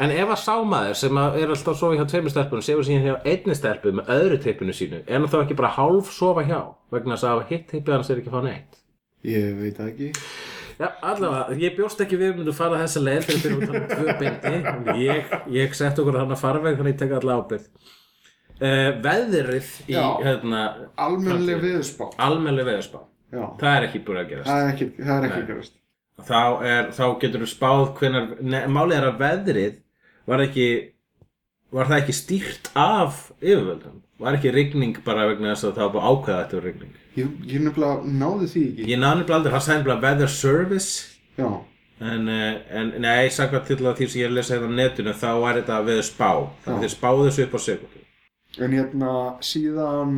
[SPEAKER 2] en ef að sámaður sem að er alltaf að sofa hjá tveimur stelpunum sefur síðan hjá einni stelpu með öðru tippinu sínu, er hann þá ekki bara hálf sofa hjá vegna þess að hitt tippið hans er ekki að fá neitt.
[SPEAKER 3] Ég veit það ekki.
[SPEAKER 2] Já, allavega, ég bjóst ekki við myndum fara þessa leið þegar við byrjum að tala um tvö bindi ég, ég sett okkur þannig að farveg þannig að ég tek alla ábyrð uh, Veðrið í
[SPEAKER 3] Já.
[SPEAKER 2] hérna,
[SPEAKER 3] Almennileg viðspá.
[SPEAKER 2] almennlega veðurspá
[SPEAKER 3] Já.
[SPEAKER 2] það er ekki búin að gerast
[SPEAKER 3] Það er ekki, það er ekki gerast.
[SPEAKER 2] þá, er, þá getur þú spáð hvenar, ne, málið er að veðrið var ekki var það ekki stýrt af yfirvöldum var ekki rigning bara vegna þess að það var búið að ákveða þetta var rigning
[SPEAKER 3] Ég, ég nefnilega náði því ekki.
[SPEAKER 2] ég náði nefnilega aldrei, það sæði nefnilega weather service
[SPEAKER 3] Já.
[SPEAKER 2] En, eh, en nei, sagðan til að því sem ég er að lesa hérna á netinu, þá er þetta við spá. Þannig
[SPEAKER 3] Já.
[SPEAKER 2] að þeir spáðu þessu upp á sekundu.
[SPEAKER 3] En hérna, síðan,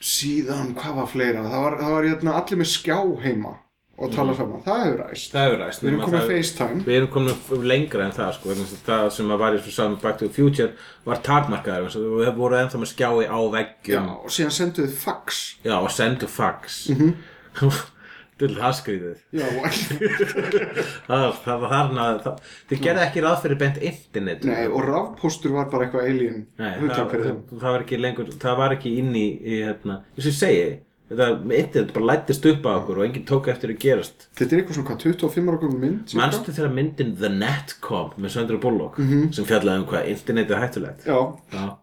[SPEAKER 3] síðan, hvað var fleira? Það var, það var hérna allir með skjá heima og tala saman. Það hefur ræst.
[SPEAKER 2] Mhm. Það hefur ræst.
[SPEAKER 3] Við erum
[SPEAKER 2] nema
[SPEAKER 3] komið
[SPEAKER 2] það-
[SPEAKER 3] FaceTime.
[SPEAKER 2] Við erum komin lengra en það, sko. vegna þess að Það sem að var í svo saman Back to the Future var takmarkaður. vegna þess að Við vorum ennþá með skjái á
[SPEAKER 3] Já, Mhm.
[SPEAKER 2] veggjum.
[SPEAKER 3] og síðan senduðu þið fax.
[SPEAKER 2] Já, og sendu fax. Mm -hmm. Dull, það skrýðið.
[SPEAKER 3] Já,
[SPEAKER 2] Það, það var þarna, það, þið gerði ekki ráð fyrir bent internet.
[SPEAKER 3] nei, og rafpóstur var bara eitthvað alien
[SPEAKER 2] Nei, það,
[SPEAKER 3] hugtakar.
[SPEAKER 2] það, það var ekki lengur, það var ekki inn í, í hérna, þess að ég segi, þetta internet bara lættist upp á okkur og enginn tók eftir að gerast.
[SPEAKER 3] Þetta er eitthvað svona hvað, 25 ára gömur mynd? cirka?
[SPEAKER 2] Manstu þegar myndin The Net kom með Söndra Bullock
[SPEAKER 3] Mhm.
[SPEAKER 2] sem fjallaði um hvað internet er hættulegt?
[SPEAKER 3] Já,
[SPEAKER 2] Já.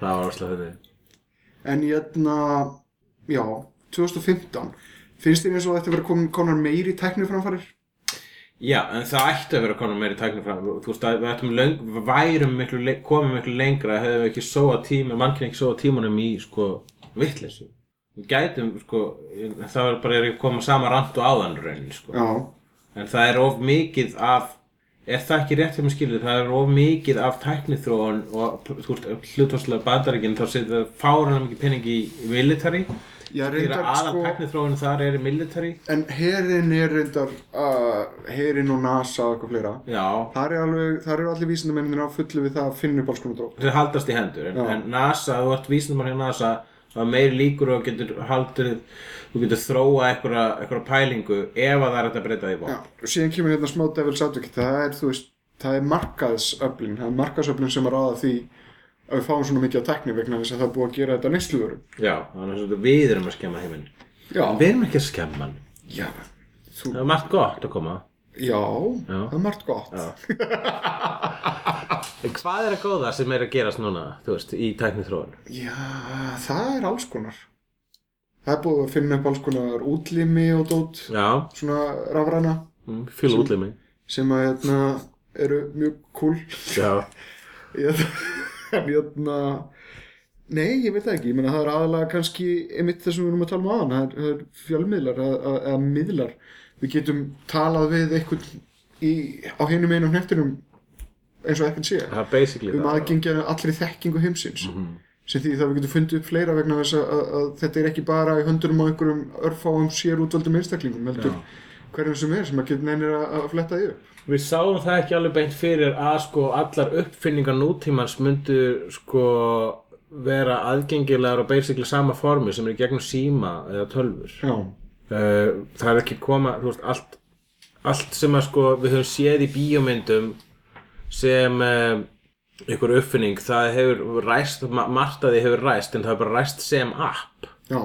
[SPEAKER 2] það var orðslega þetta.
[SPEAKER 3] en hérna, já, 2015. Finnst þér eins og þetta verið komin konar meiri tækniframfarir?
[SPEAKER 2] Já, en það ætti að vera konar meiri tækni fram Þú veist að við ættum löng, við værum miklu, le- komum miklu lengra hefðum við ekki sóa tíma, mannkinn ekki sóa tímanum í sko vitleysu Við gætum sko, en það er bara er ekki koma sama rand og áðan raunin sko
[SPEAKER 3] já,
[SPEAKER 2] En það er of mikið af Er það ekki rétt hjá mér skilur? Það er of mikið af tækniþróun og þú veist hlutvarslega bandaríkinn þá setja það fáranlega mikið pening í military
[SPEAKER 3] ég
[SPEAKER 2] Þegar
[SPEAKER 3] reyndar
[SPEAKER 2] aðal
[SPEAKER 3] sko
[SPEAKER 2] tækniþróun þar er í military
[SPEAKER 3] en herin er reyndar uh, herin og NASA og eitthvað fleira
[SPEAKER 2] Já,
[SPEAKER 3] þar er alveg, þar eru allir vísindamennir á fullu við það að finna upp alls konar drótt
[SPEAKER 2] þeir haldast í hendur en,
[SPEAKER 3] Já.
[SPEAKER 2] en NASA, þú ert vísindamann hjá NASA það er meiri líkur og getur haldur þú getur þróa einhverja, einhverja pælingu ef að það er hægt að breyta því bók
[SPEAKER 3] já, og síðan kemur hérna smá devils advocate það er, þú veist, það er markaðsöflin það er markaðsöflin sem að ráða því að við fáum svona mikið á tekni vegna þess að það er búið að gera þetta nýsluverum
[SPEAKER 2] Já, þannig að við erum að skemma heiminn Við
[SPEAKER 3] já,
[SPEAKER 2] erum ekki að skemma hann
[SPEAKER 3] já, þú,
[SPEAKER 2] Það er margt gott að koma
[SPEAKER 3] já, það er margt gott
[SPEAKER 2] En hvað er að góða sem er að gerast núna, þú veist, í tækniþróun?
[SPEAKER 3] Já, það er alls konar. Það er búið að finna upp alls konar útlimi og dót,
[SPEAKER 2] Já,
[SPEAKER 3] svona rafræna,
[SPEAKER 2] mm, fíl útlimi
[SPEAKER 3] sem að hérna, eru mjög cool.
[SPEAKER 2] Já,
[SPEAKER 3] Ég- En hérna, nei, ég veit það ekki, ég meina það er aðalega kannski einmitt það sem við erum að tala um aðan, það er, það er fjölmiðlar eða- eða eða miðlar. Við getum talað við einhvern í, á hinum einu hnettinum eins og ekkert sé.
[SPEAKER 2] það er basically
[SPEAKER 3] um aðgengja allri þekkingu heimsins sem því það við getum fundið upp fleira vegna þess að, að, að þetta er ekki bara í höndunum á einhverjum örfáum sér útvöldum einstaklingum heldur hverjum sem er sem að getur neynir að, að fletta því upp
[SPEAKER 6] Við sáum það ekki alveg beint fyrir að sko allar uppfinningar nútímans myndu sko vera aðgengilegar og basically sama formi sem er í gegnum síma eða tölfur.
[SPEAKER 3] já,
[SPEAKER 2] uh, það er ekki koma þú veist, allt, allt sem að sko við höfum séð í bíómyndum sem uh, einhver uppfinning, það hefur ræst ma- margt að því hefur ræst, en það hefur bara ræst sem app
[SPEAKER 3] já.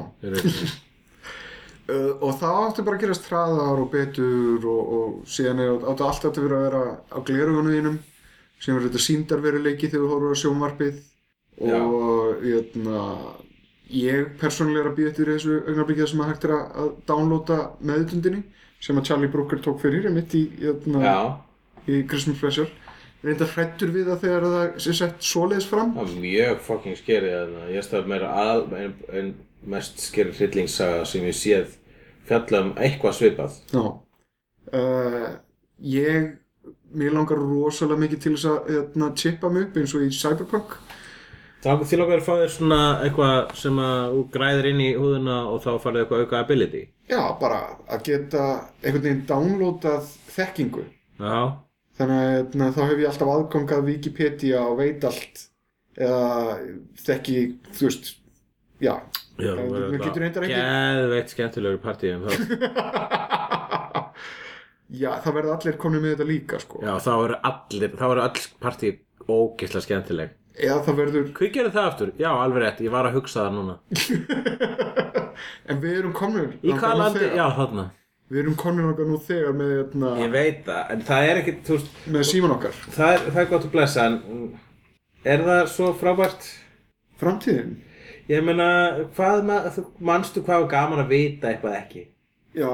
[SPEAKER 3] Uh, og það átti bara að gerast hraðar og betur og, og síðan er, átti allt átti að vera að vera á glerugunum þínum sem er þetta síndarveruleiki þegar þú horfur á sjónvarpið og jötna, ég persónulega er að býða eftir þessu augnablikið sem að hægt er að, að downloada meðutundinni sem að Charlie Brooker tók fyrir mitt í, jötna, í Christmas Special reynda hrættur við það þegar það er sett svoleiðis fram
[SPEAKER 2] það er mjög fucking skeri ég stað meira al, en, en mest skeri hryllingssaga sem ég séð fjalla um eitthvað svipað
[SPEAKER 3] Já. Uh, ég, mér langar rosalega mikið til þess að hérna, chippa mig upp eins og í Cyberpunk.
[SPEAKER 2] Það til okkar að fá þér svona eitthvað sem að þú græðir inn í húðuna og þá farið eitthvað auka ability
[SPEAKER 3] Já, bara að geta einhvern veginn downloadað þekkingu.
[SPEAKER 2] Já,
[SPEAKER 3] Þannig að hérna, þá hef ég alltaf aðgang að Wikipedia og veit allt eða þekki, þú veist, já.
[SPEAKER 2] Já,
[SPEAKER 3] Það er- maður getur reyndar ekki-
[SPEAKER 2] Geðveikt skemmtilegur um partíum þá.
[SPEAKER 3] Já, það verða allir komnir með þetta líka, sko.
[SPEAKER 2] Já, þá eru allir, þá eru all partí ógisla skemmtileg.
[SPEAKER 3] Eða það verður,
[SPEAKER 2] Hver gerði það aftur? Já, alveg rétt, ég var að hugsa það núna.
[SPEAKER 3] en við erum komnir.
[SPEAKER 2] Í hvað landi? Já, þarna.
[SPEAKER 3] Við erum komnir okkar nú þegar með, hérna,
[SPEAKER 2] Ég veit það, en það er ekki, þú veist,
[SPEAKER 3] með síman okkar.
[SPEAKER 2] það er, það er gott að blessa, en er það svo frábært?
[SPEAKER 3] Framtíðin.
[SPEAKER 2] Ég meina, hvað, ma- þú- manstu hvað var gaman að vita eitthvað ekki?
[SPEAKER 3] Já,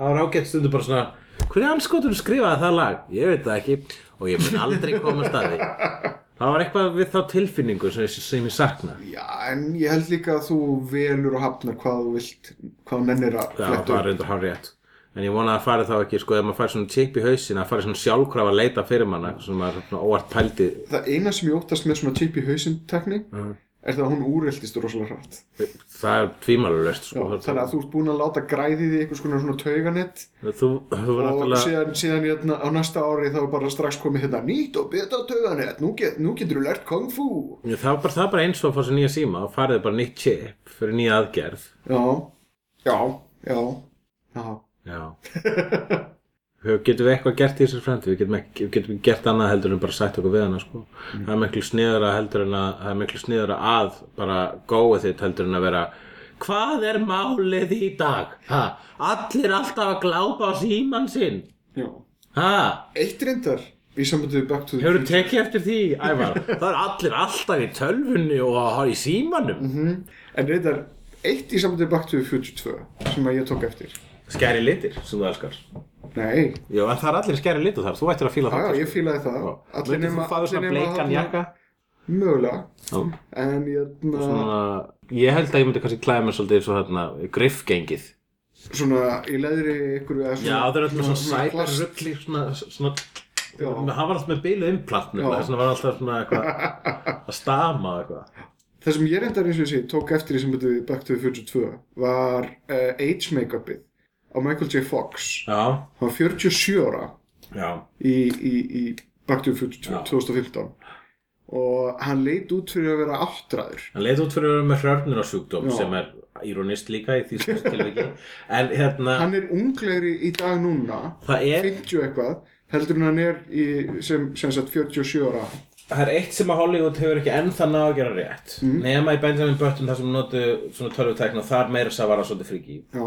[SPEAKER 2] Það var ágætt stundu bara svona Hvernig anskotunum skrifaði það lag? Ég veit það ekki og ég mun aldrei komast að því Það var eitthvað við þá tilfinningu sem, ég- sem ég sakna
[SPEAKER 3] já, en ég held líka að þú velur og hafnar hvað þú vilt, hvað þú nennir að
[SPEAKER 2] Það
[SPEAKER 3] fletta
[SPEAKER 2] var
[SPEAKER 3] upp.
[SPEAKER 2] reyndar hár rétt En ég vona að það fari þá ekki, sko, ef maður fari svona chip í hausin að fari svona sjálfkrafa að leita fyrir manna sem maður svona óvart pældi
[SPEAKER 3] Það eina sem ég óttast með svona chip í hausindtekni er það að hún úreldist rosalega hratt.
[SPEAKER 2] Það er tvímalulegst,
[SPEAKER 3] Já,
[SPEAKER 2] sko
[SPEAKER 3] þannig að þú ert búin að láta græðið í einhvers konar svona tauganett
[SPEAKER 2] Þú, þú var
[SPEAKER 3] og
[SPEAKER 2] náttúrulega
[SPEAKER 3] síðan, síðan hérna, á næsta ári þá er bara strax komið hérna nýtt og betra tauganett, nú, get, nú getur þú lært kung fu.
[SPEAKER 2] Það var bara, það var bara eins og að fá sér nýja síma og farið bara nýtt chip fyrir nýja aðgerð
[SPEAKER 3] Já, já, já, já.
[SPEAKER 2] Já Hö- Getum við eitthvað gert í þessari framtíð? Við getum, ekki, við getum ekki gert annað heldur en bara sætt okkur við hana sko. Það er miklu sniðara heldur en að það er miklu sniðara að bara góa þitt heldur en að vera Hvað er málið í dag? Ha? Allir alltaf að glápa á símann sinn
[SPEAKER 3] já.
[SPEAKER 2] ha?
[SPEAKER 3] Eitt reyndar í sambandi við Back to the
[SPEAKER 2] Hefur þú tekið eftir því, Ævar? Það er allir alltaf í tölvunni og á- í símanum
[SPEAKER 3] En reyndar, eitt í sambandi við Back to the Future 2 sem að ég tók eftir
[SPEAKER 2] Skæri litir sem þú elskar
[SPEAKER 3] Nei,
[SPEAKER 2] Jó, en það er allir skæri litu þar, þú ættir að fíla
[SPEAKER 3] já,
[SPEAKER 2] það
[SPEAKER 3] já, ég fílaði það
[SPEAKER 2] Allir nema Þú fáðu svona
[SPEAKER 3] nema
[SPEAKER 2] bleikan
[SPEAKER 3] þarna-
[SPEAKER 2] jakka
[SPEAKER 3] Mögulega
[SPEAKER 2] Já.
[SPEAKER 3] En hérna svona,
[SPEAKER 2] svona, Ég held að ég myndi kannski klæða mér svolítið eins og þarna griffgengið
[SPEAKER 3] í leðri ykkur eða
[SPEAKER 2] Já,
[SPEAKER 3] svona-
[SPEAKER 2] það er alltaf svona hérna.
[SPEAKER 3] svona
[SPEAKER 2] sæpar
[SPEAKER 3] plast-
[SPEAKER 2] rugli svona, svona
[SPEAKER 3] Já.
[SPEAKER 2] hann var alltaf með bílu implant
[SPEAKER 3] Já.
[SPEAKER 2] þess vegna var alltaf svona eitthvað að stama og eitthvað
[SPEAKER 3] Það sem ég reyndar eins og þessi tók eftir í sambandi við Back to the Future 2 var uh, age make-upið á Michael J. Fox.
[SPEAKER 2] Já,
[SPEAKER 3] Hann var 47 ára
[SPEAKER 2] já,
[SPEAKER 3] í, í, í Back to the Future 2 2015 og hann leit út fyrir að vera áttræður.
[SPEAKER 2] hann leit út fyrir að vera með hrörnunarsjúkdóm
[SPEAKER 3] Já.
[SPEAKER 2] sem er ironist líka í því sem tilviki en hérna,
[SPEAKER 3] Hann er unglegri í dag núna,
[SPEAKER 2] það er
[SPEAKER 3] 50 eitthvað, heldur en hann er í, sem, sem sagt 47 ára.
[SPEAKER 2] það er eitt sem að Hollywood hefur ekki ennþá náð að gera rétt nema í Benjamin Button þar sem notu svona tölvutækna þar meira þess að vara svolítið fríki
[SPEAKER 3] Já,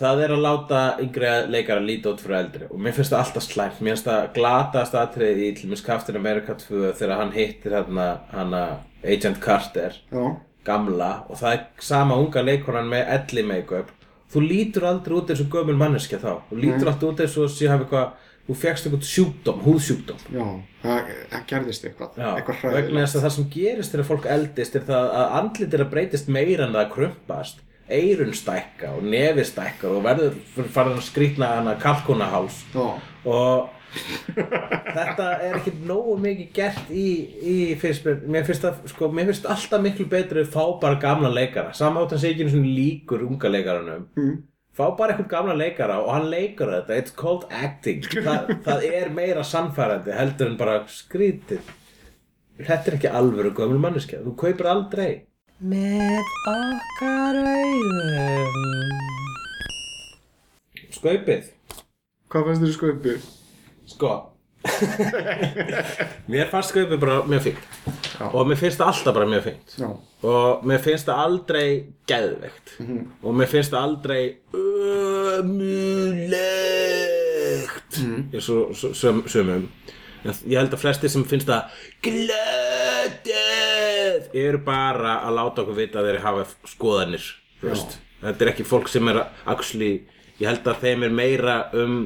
[SPEAKER 2] það er að láta yngri leikara líta út fyrir eldri og mér finnst það alltaf slæmt mér finnst það glatast atrið í til minnst Captain America 2 þegar hann hittir hana, hana Agent Carter
[SPEAKER 3] já,
[SPEAKER 2] gamla og það er sama unga leikonan með elli make-up þú lítur aldrei út eins og gömul manneskja þá þú lítur alltaf út eins og sé hafa eitthvað þú fegst eitthvað sjúkdóm, húðsjúkdóm
[SPEAKER 3] já, það, það gerðist eitthvað,
[SPEAKER 2] Já,
[SPEAKER 3] eitthvað
[SPEAKER 2] vegna
[SPEAKER 3] hræðilegt.
[SPEAKER 2] þess að það sem gerist þegar fólk eldist er það að andlit er að breytist meira en það krumpast eirun stækka og nefi stækka og verður farin að skrýtna hana kalkunaháls
[SPEAKER 3] Já,
[SPEAKER 2] og þetta er ekki nógu mikið gert í, í fyrstbjörn mér finnst það, sko, mér finnst alltaf miklu betri fá bara gamla leikara samhátt hann sé ekki einu sinni líkur unga leikaranum mm. fá bara eitthvað gamla leikara og hann leikur þetta, it's called acting það, það er meira sannfærandi heldur en bara skrítið þetta er ekki alvöru gömul manneskja þú kaupir aldrei með okkar auðum skaupið
[SPEAKER 3] hvað fannst þér í skaupið?
[SPEAKER 2] Sko Mér fannst skaupið bara mjög fínt Og mér finnst það alltaf bara mjög fínt
[SPEAKER 3] Já,
[SPEAKER 2] Og mér finnst það aldrei geðveikt Og mér finnst það aldrei Ömulegt mm -hmm. Svo söm, sömum En ég held að flestir sem finnst það Glötuð Eru bara að láta okkur vita að þeir hafa skoðanir þú veist. Þetta er ekki fólk sem er að actually, Ég held að þeim er meira um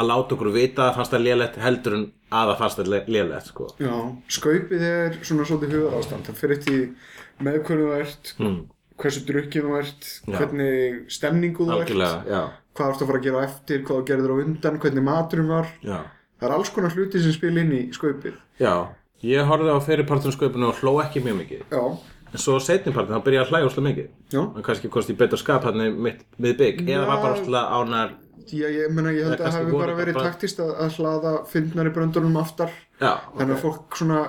[SPEAKER 2] að láta okkur vita að fannst það lélegt heldur en að það fannst það lélegt sko.
[SPEAKER 3] Já, skaupið er svona svolítið hugar ástand, það fyrir eftir því með hvernig þú ert,
[SPEAKER 2] Hmm.
[SPEAKER 3] hversu drukkin þú ert, hvernig stemningu þú
[SPEAKER 2] Algjörlega,
[SPEAKER 3] ert,
[SPEAKER 2] já,
[SPEAKER 3] hvað ertu að fara að gera á eftir, hvað þú gerður á undan, hvernig maturum var.
[SPEAKER 2] já.
[SPEAKER 3] Það er alls konar hluti sem spila inn í skaupið.
[SPEAKER 2] Já, ég horfði á fyrirpartinu sköpunu og hló ekki mjög mikið
[SPEAKER 3] Já,
[SPEAKER 2] En svo setnipartinu, þá byrjaði ég að hlæja úrslega mikið
[SPEAKER 3] Já.
[SPEAKER 2] En kannski kosti ég betur skap hann mitt miðbygg bygg Eða var bara úrslega ánar
[SPEAKER 3] ég, ég, meina, ég held
[SPEAKER 2] Það
[SPEAKER 3] að það
[SPEAKER 2] kannski
[SPEAKER 3] hafi
[SPEAKER 2] voru
[SPEAKER 3] bara
[SPEAKER 2] þetta
[SPEAKER 3] verið
[SPEAKER 2] bara-
[SPEAKER 3] taktist að, að hlaða fyndnari bröndunum aftar.
[SPEAKER 2] Já,
[SPEAKER 3] Þannig að fólk svona,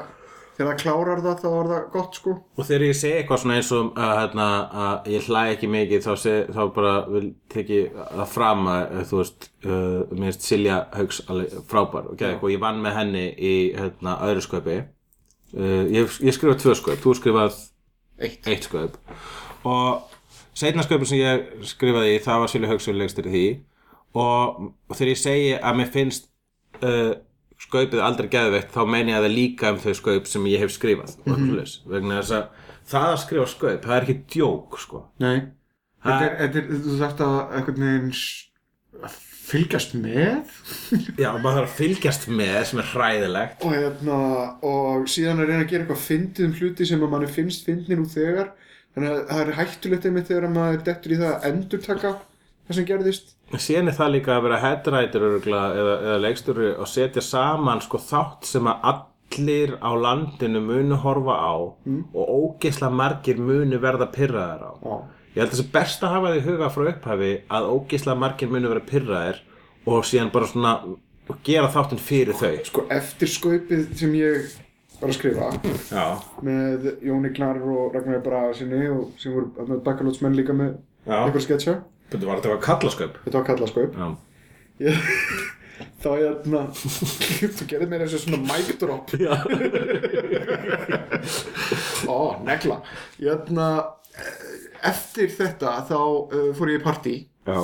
[SPEAKER 3] þegar það klárar það, þá er það gott sko.
[SPEAKER 2] og þegar ég segi eitthvað svona eins og að, hérna, að ég hlæ ekki mikið þá, seg, þá bara vil teki það fram að eh, þú veist uh, mér finnst Silja Hauks alveg frábær okay? og ég vann með henni í hérna, öðru sköpi uh, ég, ég skrifaði tvö sköp, þú skrifað
[SPEAKER 3] Eitt.
[SPEAKER 2] eitt sköp og seinna sköpun sem ég skrifaði í það var Silja Hauks sem legstir í því og, og þegar ég segi að mér finnst uh, skaupið aldrei geðveikt þá meina ég að það líka um þau skaup sem ég hef skrifað mm vegna þess að það að skrifa skaup, það er ekki djók sko.
[SPEAKER 3] Nei. Þetta
[SPEAKER 2] Það-
[SPEAKER 3] er, þetta er, þú þarft að einhvern veginn s- að fylgjast með.
[SPEAKER 2] já, maður þarf að fylgjast með sem er hræðilegt
[SPEAKER 3] og hérna og síðan að reyna að gera eitthvað fyndið um hluti sem að manni finnst fyndin úr þegar þannig að það er hættulegt einmitt þegar að maður dettur í það að endurtaka það sem gerðist
[SPEAKER 2] síðan er það líka að vera headwriter örugglega eða, eða leikstjóri og setja saman sko þátt sem að allir á landinu munu horfa á og ógeðslega margir munu verða pyrraðar á
[SPEAKER 3] Já.
[SPEAKER 2] Ég held að það sé best að hafa því huga frá upphafi að ógeðslega margir munu vera pyrraðir og síðan bara svona gera þáttinn fyrir þau.
[SPEAKER 3] sko eftir skaupið sem ég var að skrifa
[SPEAKER 2] Já.
[SPEAKER 3] með Jóni Gnar og Ragnar Braga sinni og sem voru bakkalótsmenn líka með
[SPEAKER 2] Já.
[SPEAKER 3] einhver sketsja
[SPEAKER 2] Þetta var þetta var kallasköp.
[SPEAKER 3] þetta var kallað skaup
[SPEAKER 2] Já.
[SPEAKER 3] þá hérna þú gerðir mér þessu svona mic drop
[SPEAKER 2] Já.
[SPEAKER 3] Ó, negla hérna, eh, eftir þetta þá uh, fór ég í partí
[SPEAKER 2] Já.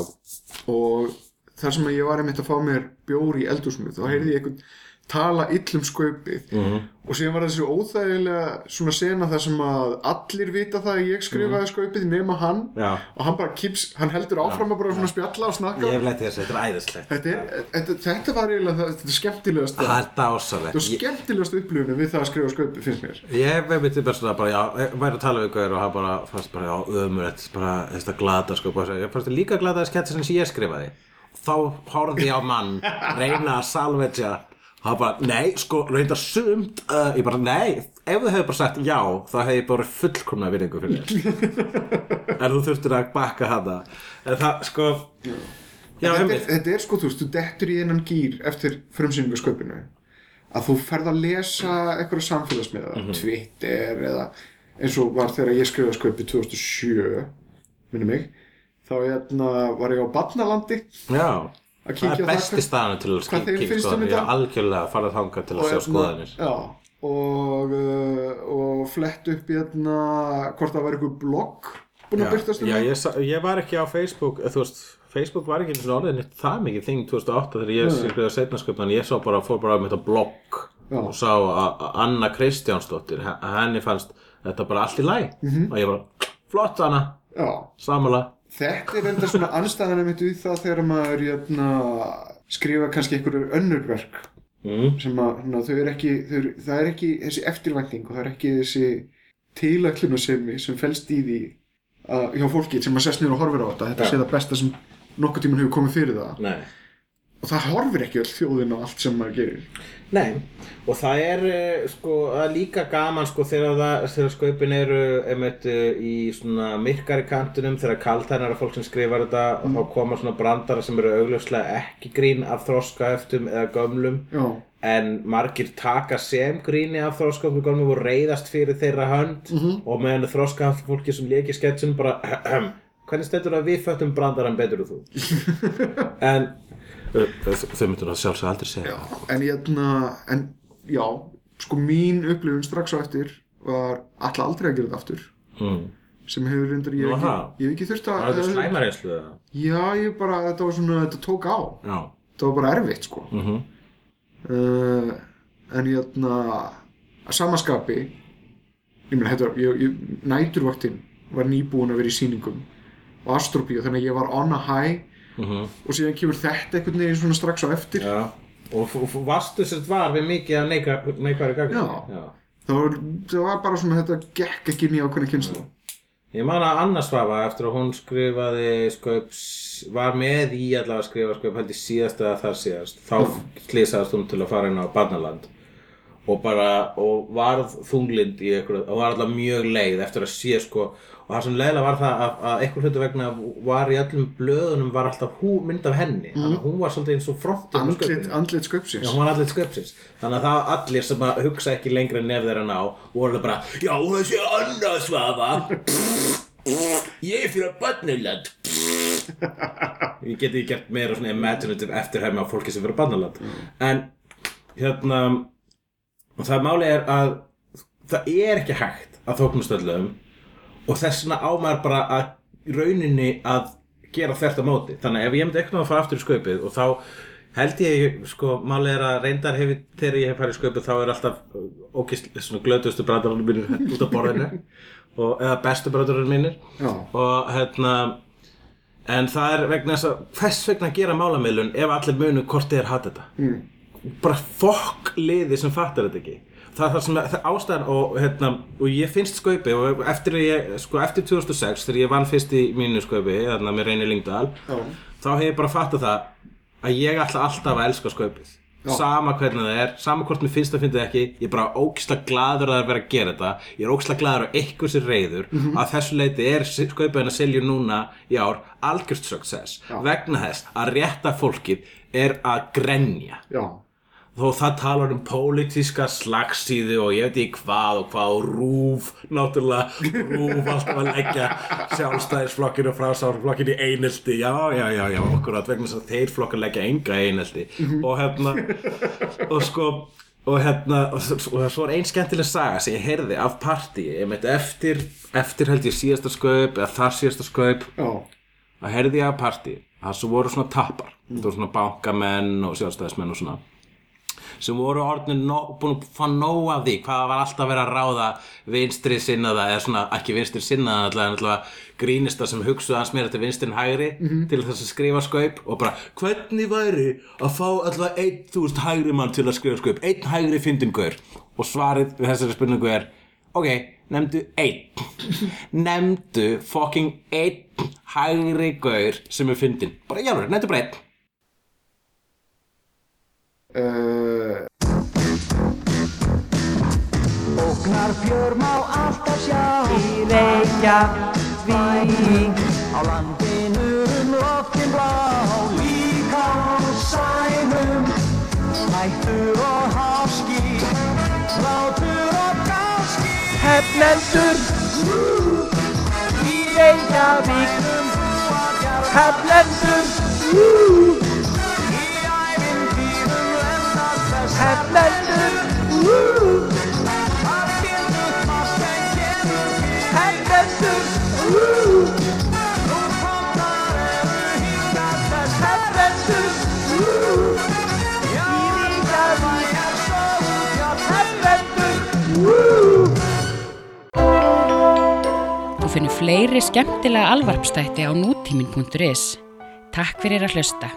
[SPEAKER 3] og þar sem ég var einmitt að fá mér bjór í eldúsinu þá heyrði ég einhvern tala illum sköpið
[SPEAKER 2] Mhm.
[SPEAKER 3] og síðan var þessi óþægilega svona sena þar sem að allir vita það að ég skrifaði sköpið nema hann
[SPEAKER 2] Mhm. Já.
[SPEAKER 3] og hann bara kips, hann heldur áfram að bara svona spjalla og snakka
[SPEAKER 2] Ég hef letið þessu, þetta er æðislegt
[SPEAKER 3] þetta, er, þetta, þetta var eiginlega það- þetta er skemmtilegast
[SPEAKER 2] Það
[SPEAKER 3] þetta
[SPEAKER 2] er dásalegt
[SPEAKER 3] er skemmtilegast upplifunum við það að skrifa sköpið finnst mér
[SPEAKER 2] Ég hef einmitt bara svona, bara, já, ég væri að tala við ykkur og hann bara fannst bara, já, ömurett, bara þetta glata, sko, bara, ég fannst líka glata að sketsa sem ég skrifaði. Þá horfði ég á mann, reyna að salvetja, hann bara, nei, sko, reynda sumt, uh, ég bara, nei, ef þú hefur bara sagt já, þá hefði ég bara fullkomna virðingu fyrir þér. en þú þurftir að bakka hana. En það, sko, já,
[SPEAKER 3] þetta, er,
[SPEAKER 2] einmitt,
[SPEAKER 3] þetta er sko, þú veist, þú dettur í einan gýr eftir frumsýningu sköpinu að þú ferð að lesa eitthvað samfélagsmiða,
[SPEAKER 2] Mhm.
[SPEAKER 3] Twitter eða eins og var þegar ég skrifaði sköpi 2007, minni mig þá hérna var ég á Barnalandi
[SPEAKER 2] já.
[SPEAKER 3] að
[SPEAKER 2] Það
[SPEAKER 3] kíkja
[SPEAKER 2] er
[SPEAKER 3] á
[SPEAKER 2] besti staðan til að
[SPEAKER 3] hvað þeim
[SPEAKER 2] skikja
[SPEAKER 3] finnst um
[SPEAKER 2] skoðanir, já,
[SPEAKER 3] þetta.
[SPEAKER 2] algjörlega fara þangað til að
[SPEAKER 3] og, hérna,
[SPEAKER 2] sjá skoðanir.
[SPEAKER 3] já, og, uh, og flett upp hérna hvort það var eitthvað blogg búin
[SPEAKER 2] Já,
[SPEAKER 3] að byrtast um
[SPEAKER 2] já
[SPEAKER 3] það.
[SPEAKER 2] ég, sa- ég var ekki á Facebook eh, þú veist, Facebook var ekki einu sinni orðin neitt það mikið þing 2008 þegar ég skrifaði setnasköpna en ég sá bara, fór bara um þetta blogg
[SPEAKER 3] Já.
[SPEAKER 2] og sá að að Anna Kristjánsdóttir he- að henni fannst þetta bara allt í læg
[SPEAKER 3] Mhm.
[SPEAKER 2] -hmm. og ég bara, flott Anna
[SPEAKER 3] já,
[SPEAKER 2] samala,
[SPEAKER 3] Þetta er enda svona anstæðan einmitt við það þegar maður jötna, skrifa kannski einhverju önnur verk
[SPEAKER 2] Mm.
[SPEAKER 3] sem að na, þau er ekki, þau er, það er ekki þessi eftirvænting og það er ekki þessi tilæklunarsemi sem felst í því að, hjá fólki sem að sest niður og horfir á þetta þetta sé það besta sem nokkuð tímann hefur komið fyrir það
[SPEAKER 2] nei
[SPEAKER 3] og það horfir ekki öll þjóðin á allt sem maður gerir
[SPEAKER 2] Nei, og það er eh, sko, það er líka gaman sko þegar, það, þegar skaupin eru einmitt eh, í svona myrkari kantunum þegar kaltænar að fólk sem skrifar þetta og þá koma svona brandara sem eru augljóslega ekki grín af þroskaöftum eða gömlum
[SPEAKER 3] Já,
[SPEAKER 2] en margir taka sem gríni af þroskaöftum og gömlum og reyðast fyrir þeirra hönd og meðan þroskaöftum fólki sem lék í sketsunum bara hvernig stendur að við föttum brandaran betur en þú en þau myndur að sjálfsög aldrei segja Já.
[SPEAKER 3] en jötna, en já sko mín upplifun strax á eftir var alltaf aldrei að gera þetta aftur
[SPEAKER 2] Mm.
[SPEAKER 3] sem hefur reyndar ég
[SPEAKER 2] Nú,
[SPEAKER 3] hef
[SPEAKER 2] það?
[SPEAKER 3] ekki, ég hef ekki þurft að
[SPEAKER 2] Það er þetta slæmar einslu það?
[SPEAKER 3] Já, ég bara, þetta var svona, þetta tók á
[SPEAKER 2] Já.
[SPEAKER 3] þetta var bara erfitt, sko
[SPEAKER 2] Mm -hmm.
[SPEAKER 3] uh, en hérna að samaskapi ég meina, þetta var, ég, ég, næturvaktin var nýbúin að vera í sýningum og astróbíu, þannig að ég var on a high og síðan kemur þetta einhvern veginn svona strax á eftir
[SPEAKER 2] Mhm. Já. Og f- f- varstu sem var við mikið að neika, neikværi gagn?
[SPEAKER 3] Já. það, var, það var bara svona, þetta gekk ekki inn í ákveðna kynslu
[SPEAKER 2] Ég man að Anna Svava eftir að hún skrifaði sköps, var með í allavega að skrifa sköp held í síðast eða þar síðast. Þá slýsaðast hún til að fara inn á Barnaland og bara, og varð þunglind í einhverju, og var allavega mjög leið eftir að sé sko, og það sem leiðilega var það að, að einhver hlutu vegna var í öllum blöðunum var alltaf hú mynd af henni, þannig að hún var svolítið eins og frontið með
[SPEAKER 3] Mhm. andlit,
[SPEAKER 2] sköpunni.
[SPEAKER 3] andlit sköpsins
[SPEAKER 2] Já, hún var allir sköpsins. Þannig að það allir sem að hugsa ekki lengra en nefð þeirra ná voru alveg bara, já, þessi annað svafa. Ég er fyrir Barnaland. Ég geti gert meira svona imaginative eftirhæmi af fólki sem fyrir Barnaland. En, hérna, og það máli er að það er ekki hægt að þóknast öllum og þess vegna á maður bara að í rauninni að gera þvert á móti þannig að ef ég myndi eitthvað að fara aftur í sköpið og þá held ég, sko, máli er að reyndar hefur, þegar ég hef farið í sköpið þá er alltaf ókist, svona glötuðustu brandarunum mínir út af borðinu og, eða bestu brandarunum mínir
[SPEAKER 3] Já.
[SPEAKER 2] og hérna en það er vegna þess að hvers vegna gera málamiðlun ef allir munu hvort þið er hatt þetta mm. bara fokk liði sem fattar þetta ekki það er það sem það er ástæðan og, hérna, og ég finnst skaupi og eftir, að ég, sko, eftir 2006 þegar ég vann fyrst í mínu skaupi þarna með Reyni Lingdal
[SPEAKER 3] Já.
[SPEAKER 2] þá hef ég bara fattað það að ég ætla alltaf að elska skaupið
[SPEAKER 3] Já.
[SPEAKER 2] sama hvernig það er, sama hvort mér finnst það finnst það ekki ég er bara ógislega gladur að það er verið að gera þetta ég er ógislega gladur að eitthvað sér reyður að þessu leiti er skaupaðin að selja núna í ár algjörst success vegna þess að rétta fólkið er að grenja
[SPEAKER 3] Já.
[SPEAKER 2] þó það talar um pólitíska slagsíðu og ég veit ekki hvað og hvað og rúf, náttúrulega rúf alltaf að leggja sjálfstæðisflokkinu og frásárflokkinu í einelti já, já, já, já, okkur átt vegna þess að þeir flokkar leggja enga í einelti og hérna, og sko og hérna, og s- og svo er ein skemmtileg saga sem ég heyrði af partíi einmitt eftir, eftir held ég síðasta skaup eða þar síðasta skaup
[SPEAKER 3] Já.
[SPEAKER 2] það heyrði ég að partí það svo voru svona tappar, það voru svona bankamenn og sjálfstæðismenn og svona sem voru orðin no, búin að fá nóg af því hvað var alltaf verið að ráða vinstri sinnaða eða svona ekki vinstri sinnaða allavega, en allavega grínista sem hugsuðu hans meira til vinstri en hægri til þess að skrifa skaup og bara hvernig væri að fá allavega einn þúst hægri mann til að skrifa skaup einn hægri fyndingur og svarið við þessari spurningu er ok, nefndu einn nefndu fucking einn hægri gaur sem er fyndin bara í alveg, nefndu bara einn
[SPEAKER 7] uh,
[SPEAKER 8] Ógnar fjör má alltaf sjá Í reykja vík Á landinu um loftin blá Líka á sænum Snættur og háski Látur og gáski Hefnendur Í reykja vík Hefnendur Í ævintýrum lendar þessar Hefnendur Hefnendur
[SPEAKER 1] Þú finnur fleiri skemmtilega alvarpstætti á nútímin.is. Takk fyrir að hlusta.